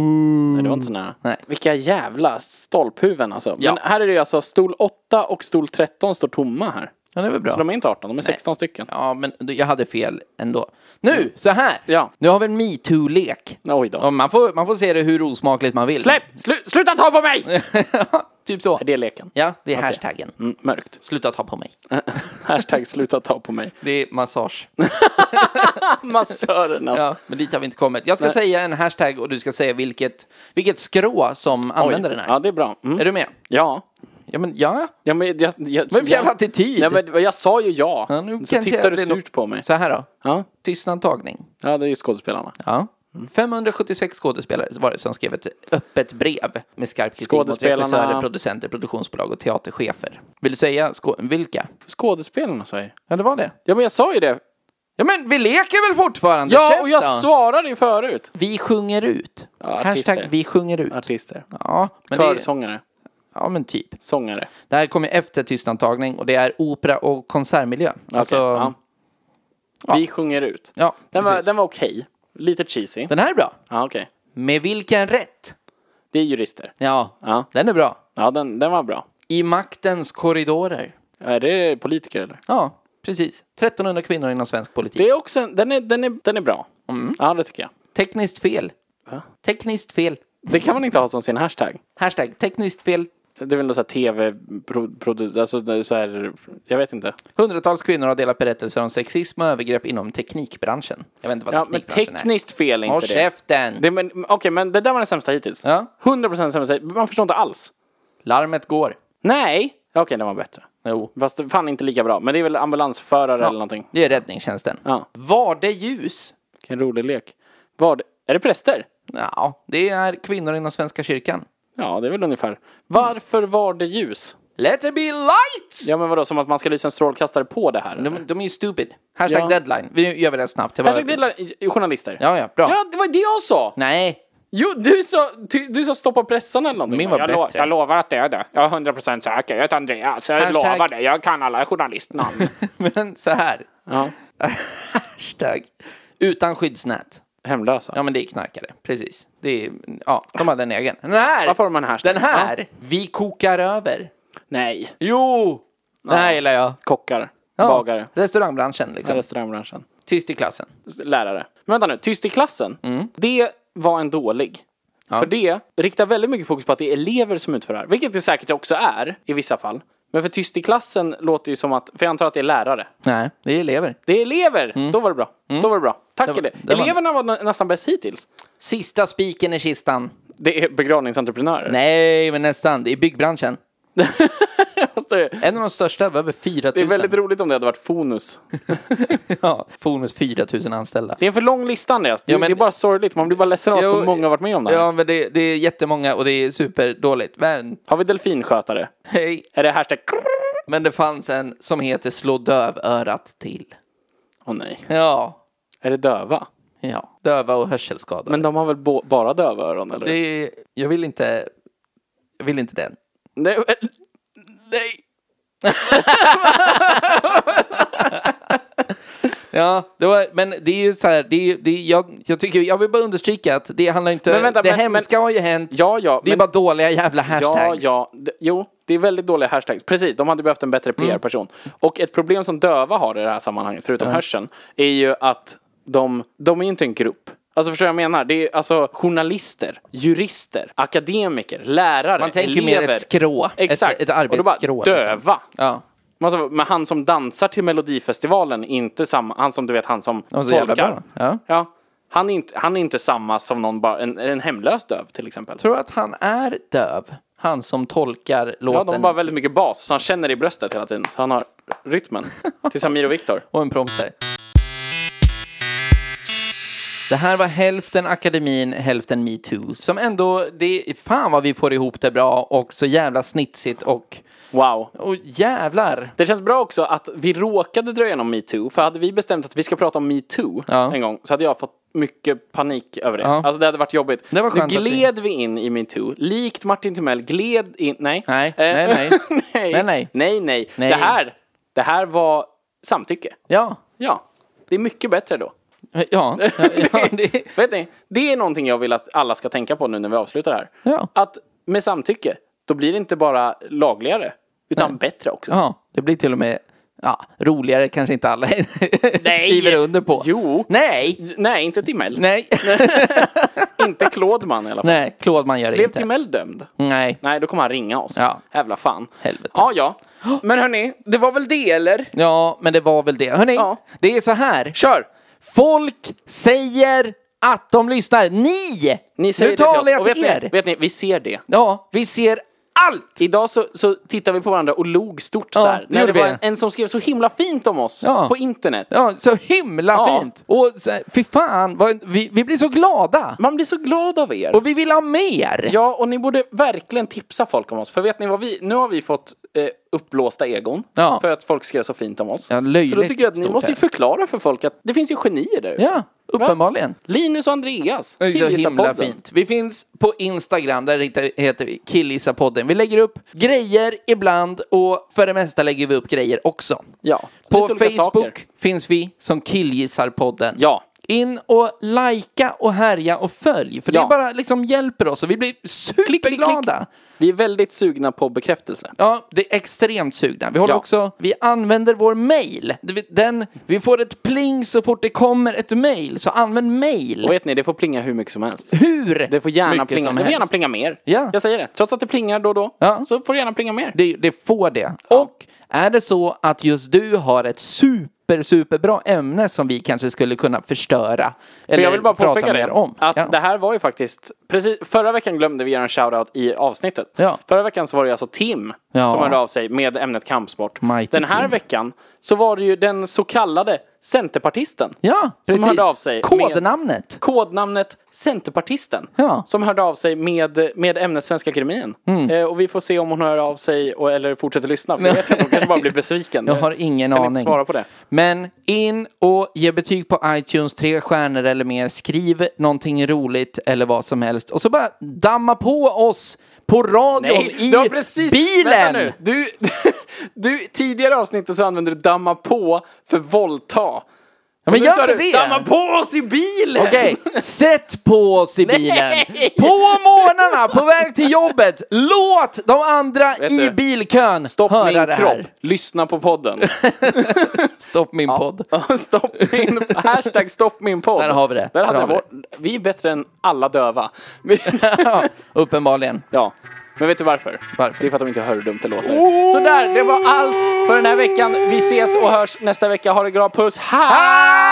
A: Nej, det var inte så nära.
B: Oh, mm. Nej.
A: Vilka jävla stolphuvuden alltså.
B: Ja.
A: Men här är det ju alltså stol 8 och stol 13 står tomma här.
B: Ja, det var bra.
A: Så de är inte 18, de är 16 stycken.
B: Ja, men du, jag hade fel ändå. Nu, så här!
A: Ja.
B: Nu har vi en metoo-lek.
A: Oj då.
B: Ja, man, får, man får se det hur osmakligt man vill.
A: Släpp! Slu- sluta ta på mig! Är
B: Typ så.
A: det leken?
B: Ja, det är hashtaggen.
A: Mm, mörkt.
B: Sluta ta på mig.
A: Hashtag sluta ta på mig.
B: Det är massage.
A: Massören alltså.
B: Ja, men dit har vi inte kommit. Jag ska säga en hashtag och du ska säga vilket, vilket skrå som använder den här.
A: Ja, det är bra. Mm.
B: Är du med?
A: Ja.
B: Ja, men ja.
A: Ja, men jag... jag
B: Vad för jävla attityd?
A: Ja, men jag sa ju ja.
B: ja nu
A: så
B: kanske
A: tittar du
B: det är nog-
A: surt på mig.
B: Så här då.
A: Ja.
B: Tystnadtagning.
A: ja, det är ju skådespelarna.
B: Ja. 576 skådespelare var det som skrev ett öppet brev med skarp kritik mot
A: Skådespelarna-
B: regissörer, producenter, produktionsbolag och teaterchefer. Vill du säga skå- vilka?
A: Skådespelarna säger
B: Ja, det var det.
A: Ja, men jag sa ju det.
B: Ja, men vi leker väl fortfarande?
A: Ja,
B: Käft
A: och jag
B: då.
A: svarade ju förut.
B: Vi sjunger ut.
A: artister.
B: Hashtag vi sjunger ut.
A: Artister.
B: Ja, men det är,
A: Körsångare.
B: ja, men typ.
A: Sångare.
B: Det här kommer efter tystnadtagning och det är opera och konsertmiljö. Alltså,
A: Okej, ja.
B: ja.
A: Vi sjunger ut.
B: Ja,
A: den, var,
B: precis.
A: den var okej. Lite cheesy.
B: Den här är bra.
A: Ja, okej.
B: Med vilken rätt?
A: Det är jurister.
B: Ja,
A: Ja.
B: den är bra.
A: Ja, den, den var bra.
B: I maktens korridorer.
A: Är det politiker eller?
B: Ja, precis. 1300 kvinnor inom svensk politik.
A: Det är också en, den, är, den, är, den är bra.
B: Mm.
A: Ja, det tycker jag.
B: Tekniskt fel. Tekniskt fel.
A: Det kan man inte ha som sin hashtag.
B: Hashtag tekniskt fel.
A: Det är väl något såhär tv-produkt, alltså det är så här, jag vet inte.
B: Hundratals kvinnor har delat berättelser om sexism och övergrepp inom teknikbranschen. Jag vet inte vad
A: Ja, men
B: teknikbranschen
A: tekniskt fel är
B: är. Håll
A: inte det.
B: käften!
A: det men, Okej, men det där var den sämsta hittills.
B: Ja.
A: 100% sämsta hittills. Man förstår inte alls.
B: Larmet går.
A: Nej! Okej, den var bättre.
B: Jo.
A: Fast det- fan inte lika bra. Men det är väl ambulansförare eller någonting.
B: Det är räddningstjänsten.
A: Ja.
B: Var det ljus?
A: Vilken rolig lek. Vad, är det präster?
B: Ja, det är kvinnor inom Svenska kyrkan.
A: Ja, det är väl ungefär. Varför var det ljus?
B: Let it be light!
A: Ja, men vadå, som att man ska lysa en strålkastare på det här? eller?
B: De, de är ju stupid. Hashtag
A: Ja.
B: deadline. Vi gör vi det snabbt. Det var-
A: Hashtag delar i- journalister.
B: Ja, ja, bra.
A: Ja, det var det jag sa!
B: Nej,
A: Jo, du sa, ty, du sa stoppa pressarna eller någonting.
B: Min var
A: jag, lo-
B: bättre.
A: jag lovar att det är det. Jag är 100% säker. Jag heter Andreas. Jag
B: Hashtag-
A: lovar det. Jag kan alla journalistnamn.
B: men så här.
A: ja.
B: Hashtag utan skyddsnät.
A: Hemlösa.
B: Ja, men det är knarkare. Precis. Det är, ja, de hade en egen. Den här!
A: Varför har man en hashtag?
B: Den här! Vi kokar över.
A: Nej.
B: Jo! Den här gillar jag.
A: Kockar.
B: Ja,
A: Bagare.
B: Restaurangbranschen liksom.
A: Restaurangbranschen.
B: Tyst i klassen.
A: lärare. Men vänta nu, tyst i klassen.
B: Mm.
A: Det var en dålig. För det riktar väldigt mycket fokus på att det är elever som utför det här. Vilket det säkert också är i vissa fall. Men för tyst i klassen låter ju som att, för jag antar att det är lärare.
B: Nej, det är elever.
A: Det är elever! Då var det bra. Då var det bra. Tack
B: Mm. Det var-
A: för det.
B: det var-
A: Eleverna var nä- nästan bäst hittills.
B: Sista spiken i kistan.
A: Det är begravningsentreprenörer.
B: Nej, men nästan. Det är byggbranschen.
A: Fast det-
B: En av de största, det var över 4 000.
A: Det är väldigt roligt om det hade varit Fonus.
B: Ja, Fonus 4 000 anställda.
A: Det är en för lång lista Andreas. Det,
B: Ja, men-
A: det är bara sorgligt. Man blir bara ledsen av att så
B: Jo,
A: många har varit med om det här.
B: Ja, men det, det är jättemånga och det är superdåligt. Men,
A: Har vi delfinskötare?
B: hej.
A: Är det hashtag...
B: Men det fanns en som heter Slå dövörat till.
A: Åh nej.
B: Ja,
A: Är det döva?
B: ja. Döva och hörselskadade.
A: Men de har väl bo- bara dövöron eller?
B: det är, jag vill inte, jag vill inte den.
A: Nej. men- Nej.
B: Ja, det var, men det är ju så här, det är, ju- det är, jag, jag, tycker, jag vill bara understryka att det handlar inte,
A: Men vänta,
B: det
A: men-
B: hemska har ju hänt,
A: Ja, ja.
B: det är
A: men-
B: bara dåliga jävla hashtags.
A: Ja, ja. D- Jo, det är väldigt dåliga hashtags. Precis, de hade behövt en bättre
B: Mm.
A: PR-person. Och ett problem som döva har i det här sammanhanget, förutom hörseln, är ju att de, de är inte en grupp. Alltså förstår du vad jag menar? Det är alltså journalister, jurister, akademiker, lärare,
B: Man tänker ju
A: elever.
B: mer ett skrå, ett- ett
A: Exakt. Och då bara,
B: arbetsskrå, liksom.
A: Döva.
B: Ja.
A: Men alltså, men han som dansar till Melodifestivalen, är inte samma, han som du vet, han som
B: var så jävla
A: tolkar.
B: bra. Ja.
A: Han, är inte, han är inte samma som någon, bara, en, en hemlös döv till exempel.
B: Tror du att han är döv? Han som tolkar
A: Ja, de har
B: låten
A: bara väldigt mycket bas, så han känner det i bröstet hela tiden. Så han har rytmen. Till Samir och Viktor.
B: och en prompter. Det här var hälften akademin, hälften metoo. Som ändå, det, fan vad vi får ihop det bra och så jävla snitsigt och,
A: Wow.
B: och jävlar.
A: Det känns bra också att vi råkade dra igenom metoo, för hade vi bestämt att vi ska prata om metoo
B: Ja.
A: en gång så hade jag fått mycket panik över det.
B: Ja.
A: Alltså det hade varit jobbigt.
B: Det var
A: nu
B: skönt att vi-
A: gled vi in i metoo, likt Martin Timell gled in... Nej. Eh,
B: Nej, nej, nej.
A: nej.
B: Nej, nej.
A: nej, nej.
B: Nej.
A: Det, här, det här var samtycke.
B: Ja,
A: Ja, det är mycket bättre då.
B: ja, ja, ja det,
A: Vet ni, det är någonting jag vill att alla ska tänka på nu när vi avslutar här.
B: Ja.
A: Att med samtycke, då blir det inte bara lagligare, utan bättre också.
B: ja, det blir till och med ja, roligare kanske inte alla skriver under på.
A: Jo.
B: Nej,
A: Nej, inte Timell.
B: nej,
A: Inte Klådman i alla fall.
B: nej, Claude man gör det
A: Blev
B: inte.
A: Timell dömd?
B: Nej,
A: Nej, då kommer han ringa oss.
B: Ja.
A: Jävla fan.
B: Helvete.
A: Ja, ja. Men hörni, det var väl det eller?
B: ja, men det var väl det. Hörni,
A: Ja.
B: det är så här.
A: Kör!
B: Folk säger att de lyssnar. Ni!
A: Ni säger
B: nu talar
A: det till oss.
B: jag
A: Och vet
B: till er.
A: ni, vet ni, vi ser det.
B: Ja, vi ser allt!
A: Idag så, så tittade vi på varandra och log stort så här.
B: det
A: När
B: gjorde
A: det var
B: vi.
A: en, en som skrev så himla fint om oss
B: Ja.
A: på internet.
B: Ja, så himla
A: Ja.
B: fint! Och så, här, fy fan, vad, vi, vi blir så glada!
A: Man blir så glad av er.
B: Och vi vill ha mer!
A: Ja, och ni borde verkligen tipsa folk om oss. För vet ni vad vi, nu har vi fått eh, uppblåsta egon
B: Ja.
A: för att folk skrev så fint om oss.
B: Ja, löjligt
A: så då tycker jag att ni
B: stort
A: måste ju
B: här.
A: förklara för folk att det finns ju genier där ute.
B: Ja, uppenbarligen.
A: Linus och Andreas,
B: Det är Så himla
A: Killgissarpodden.
B: fint. Vi finns på Instagram, där heter- heter vi Killisa-podden. Vi lägger upp grejer ibland och för det mesta lägger vi upp grejer också.
A: Ja, så
B: På
A: lite olika
B: Facebook
A: saker.
B: finns vi som Killgissarpodden.
A: Ja.
B: In och likea och härja och följ. För
A: Ja.
B: det bara liksom hjälper oss och vi blir superglada.
A: Vi är väldigt sugna på bekräftelse.
B: Ja, det är extremt sugna. Vi håller
A: Ja.
B: också, vi använder vår mail. Det- Den, vi får ett pling så fort det kommer ett mail, så använd mail.
A: Och vet ni, det får plinga hur mycket som helst.
B: Hur?
A: Det får gärna
B: mycket
A: plinga,
B: som
A: det får gärna
B: helst.
A: plinga mer.
B: Ja.
A: Jag säger det. Trots att det plingar då och då,
B: Ja.
A: så får det gärna plinga mer.
B: Det, det får det. Och är det så att just du har ett super, superbra ämne som vi kanske skulle kunna förstöra
A: För
B: eller
A: jag vill bara
B: prata
A: påpeka
B: mer
A: det,
B: om.
A: att
B: ja.
A: det här var ju faktiskt, precis, förra veckan glömde vi göra en shoutout i avsnittet.
B: Ja.
A: Förra veckan så var det alltså Tim
B: Ja.
A: som hörde av sig med ämnet kampsport.
B: Mighty
A: den här
B: Tim.
A: veckan så var det ju den så kallade Centerpartisten
B: ja,
A: som
B: precis.
A: hörde av sig. Med
B: Kodnamnet.
A: kodnamnet Centerpartisten
B: Ja. Mm.
A: som hörde av sig med, med ämnet Svenska Akademien. Eh, och vi får se om hon hör av sig och, eller fortsätter lyssna. För jag vet inte, hon kanske bara blir besviken.
B: Jag har ingen
A: Eh, kan
B: aning.
A: Inte svara på det.
B: Men in och ge betyg på iTunes, tre stjärnor eller mer. Skriv någonting roligt eller vad som helst. Och så bara damma på oss på radion i
A: du har precis,
B: bilen!
A: Vänta nu, du, du, tidigare avsnittet så använde du damma på för våldta.
B: men
A: nu
B: gör
A: sa
B: inte
A: du,
B: det!
A: Damma på oss i bilen!
B: Okej, sätt på oss i bilen.
A: Nej!
B: På morgnarna, på väg till jobbet. Låt de andra
A: Vet
B: i
A: du,
B: bilkön
A: Stopp
B: höra
A: min
B: det
A: kropp.
B: här.
A: Lyssna på podden.
B: Stopp min podd.
A: stopp min, hashtag stopp min podd.
B: Där har vi det.
A: Där
B: Där
A: hade
B: har vi
A: vi, det. vi är bättre än alla döva. Men-
B: ja, uppenbarligen.
A: ja. Men vet du varför?
B: Varför?
A: Det är för att de inte hör hur dumt det låter. Så där, det var allt för den här veckan. Vi ses och hörs nästa vecka. Ha det bra, puss. Hej!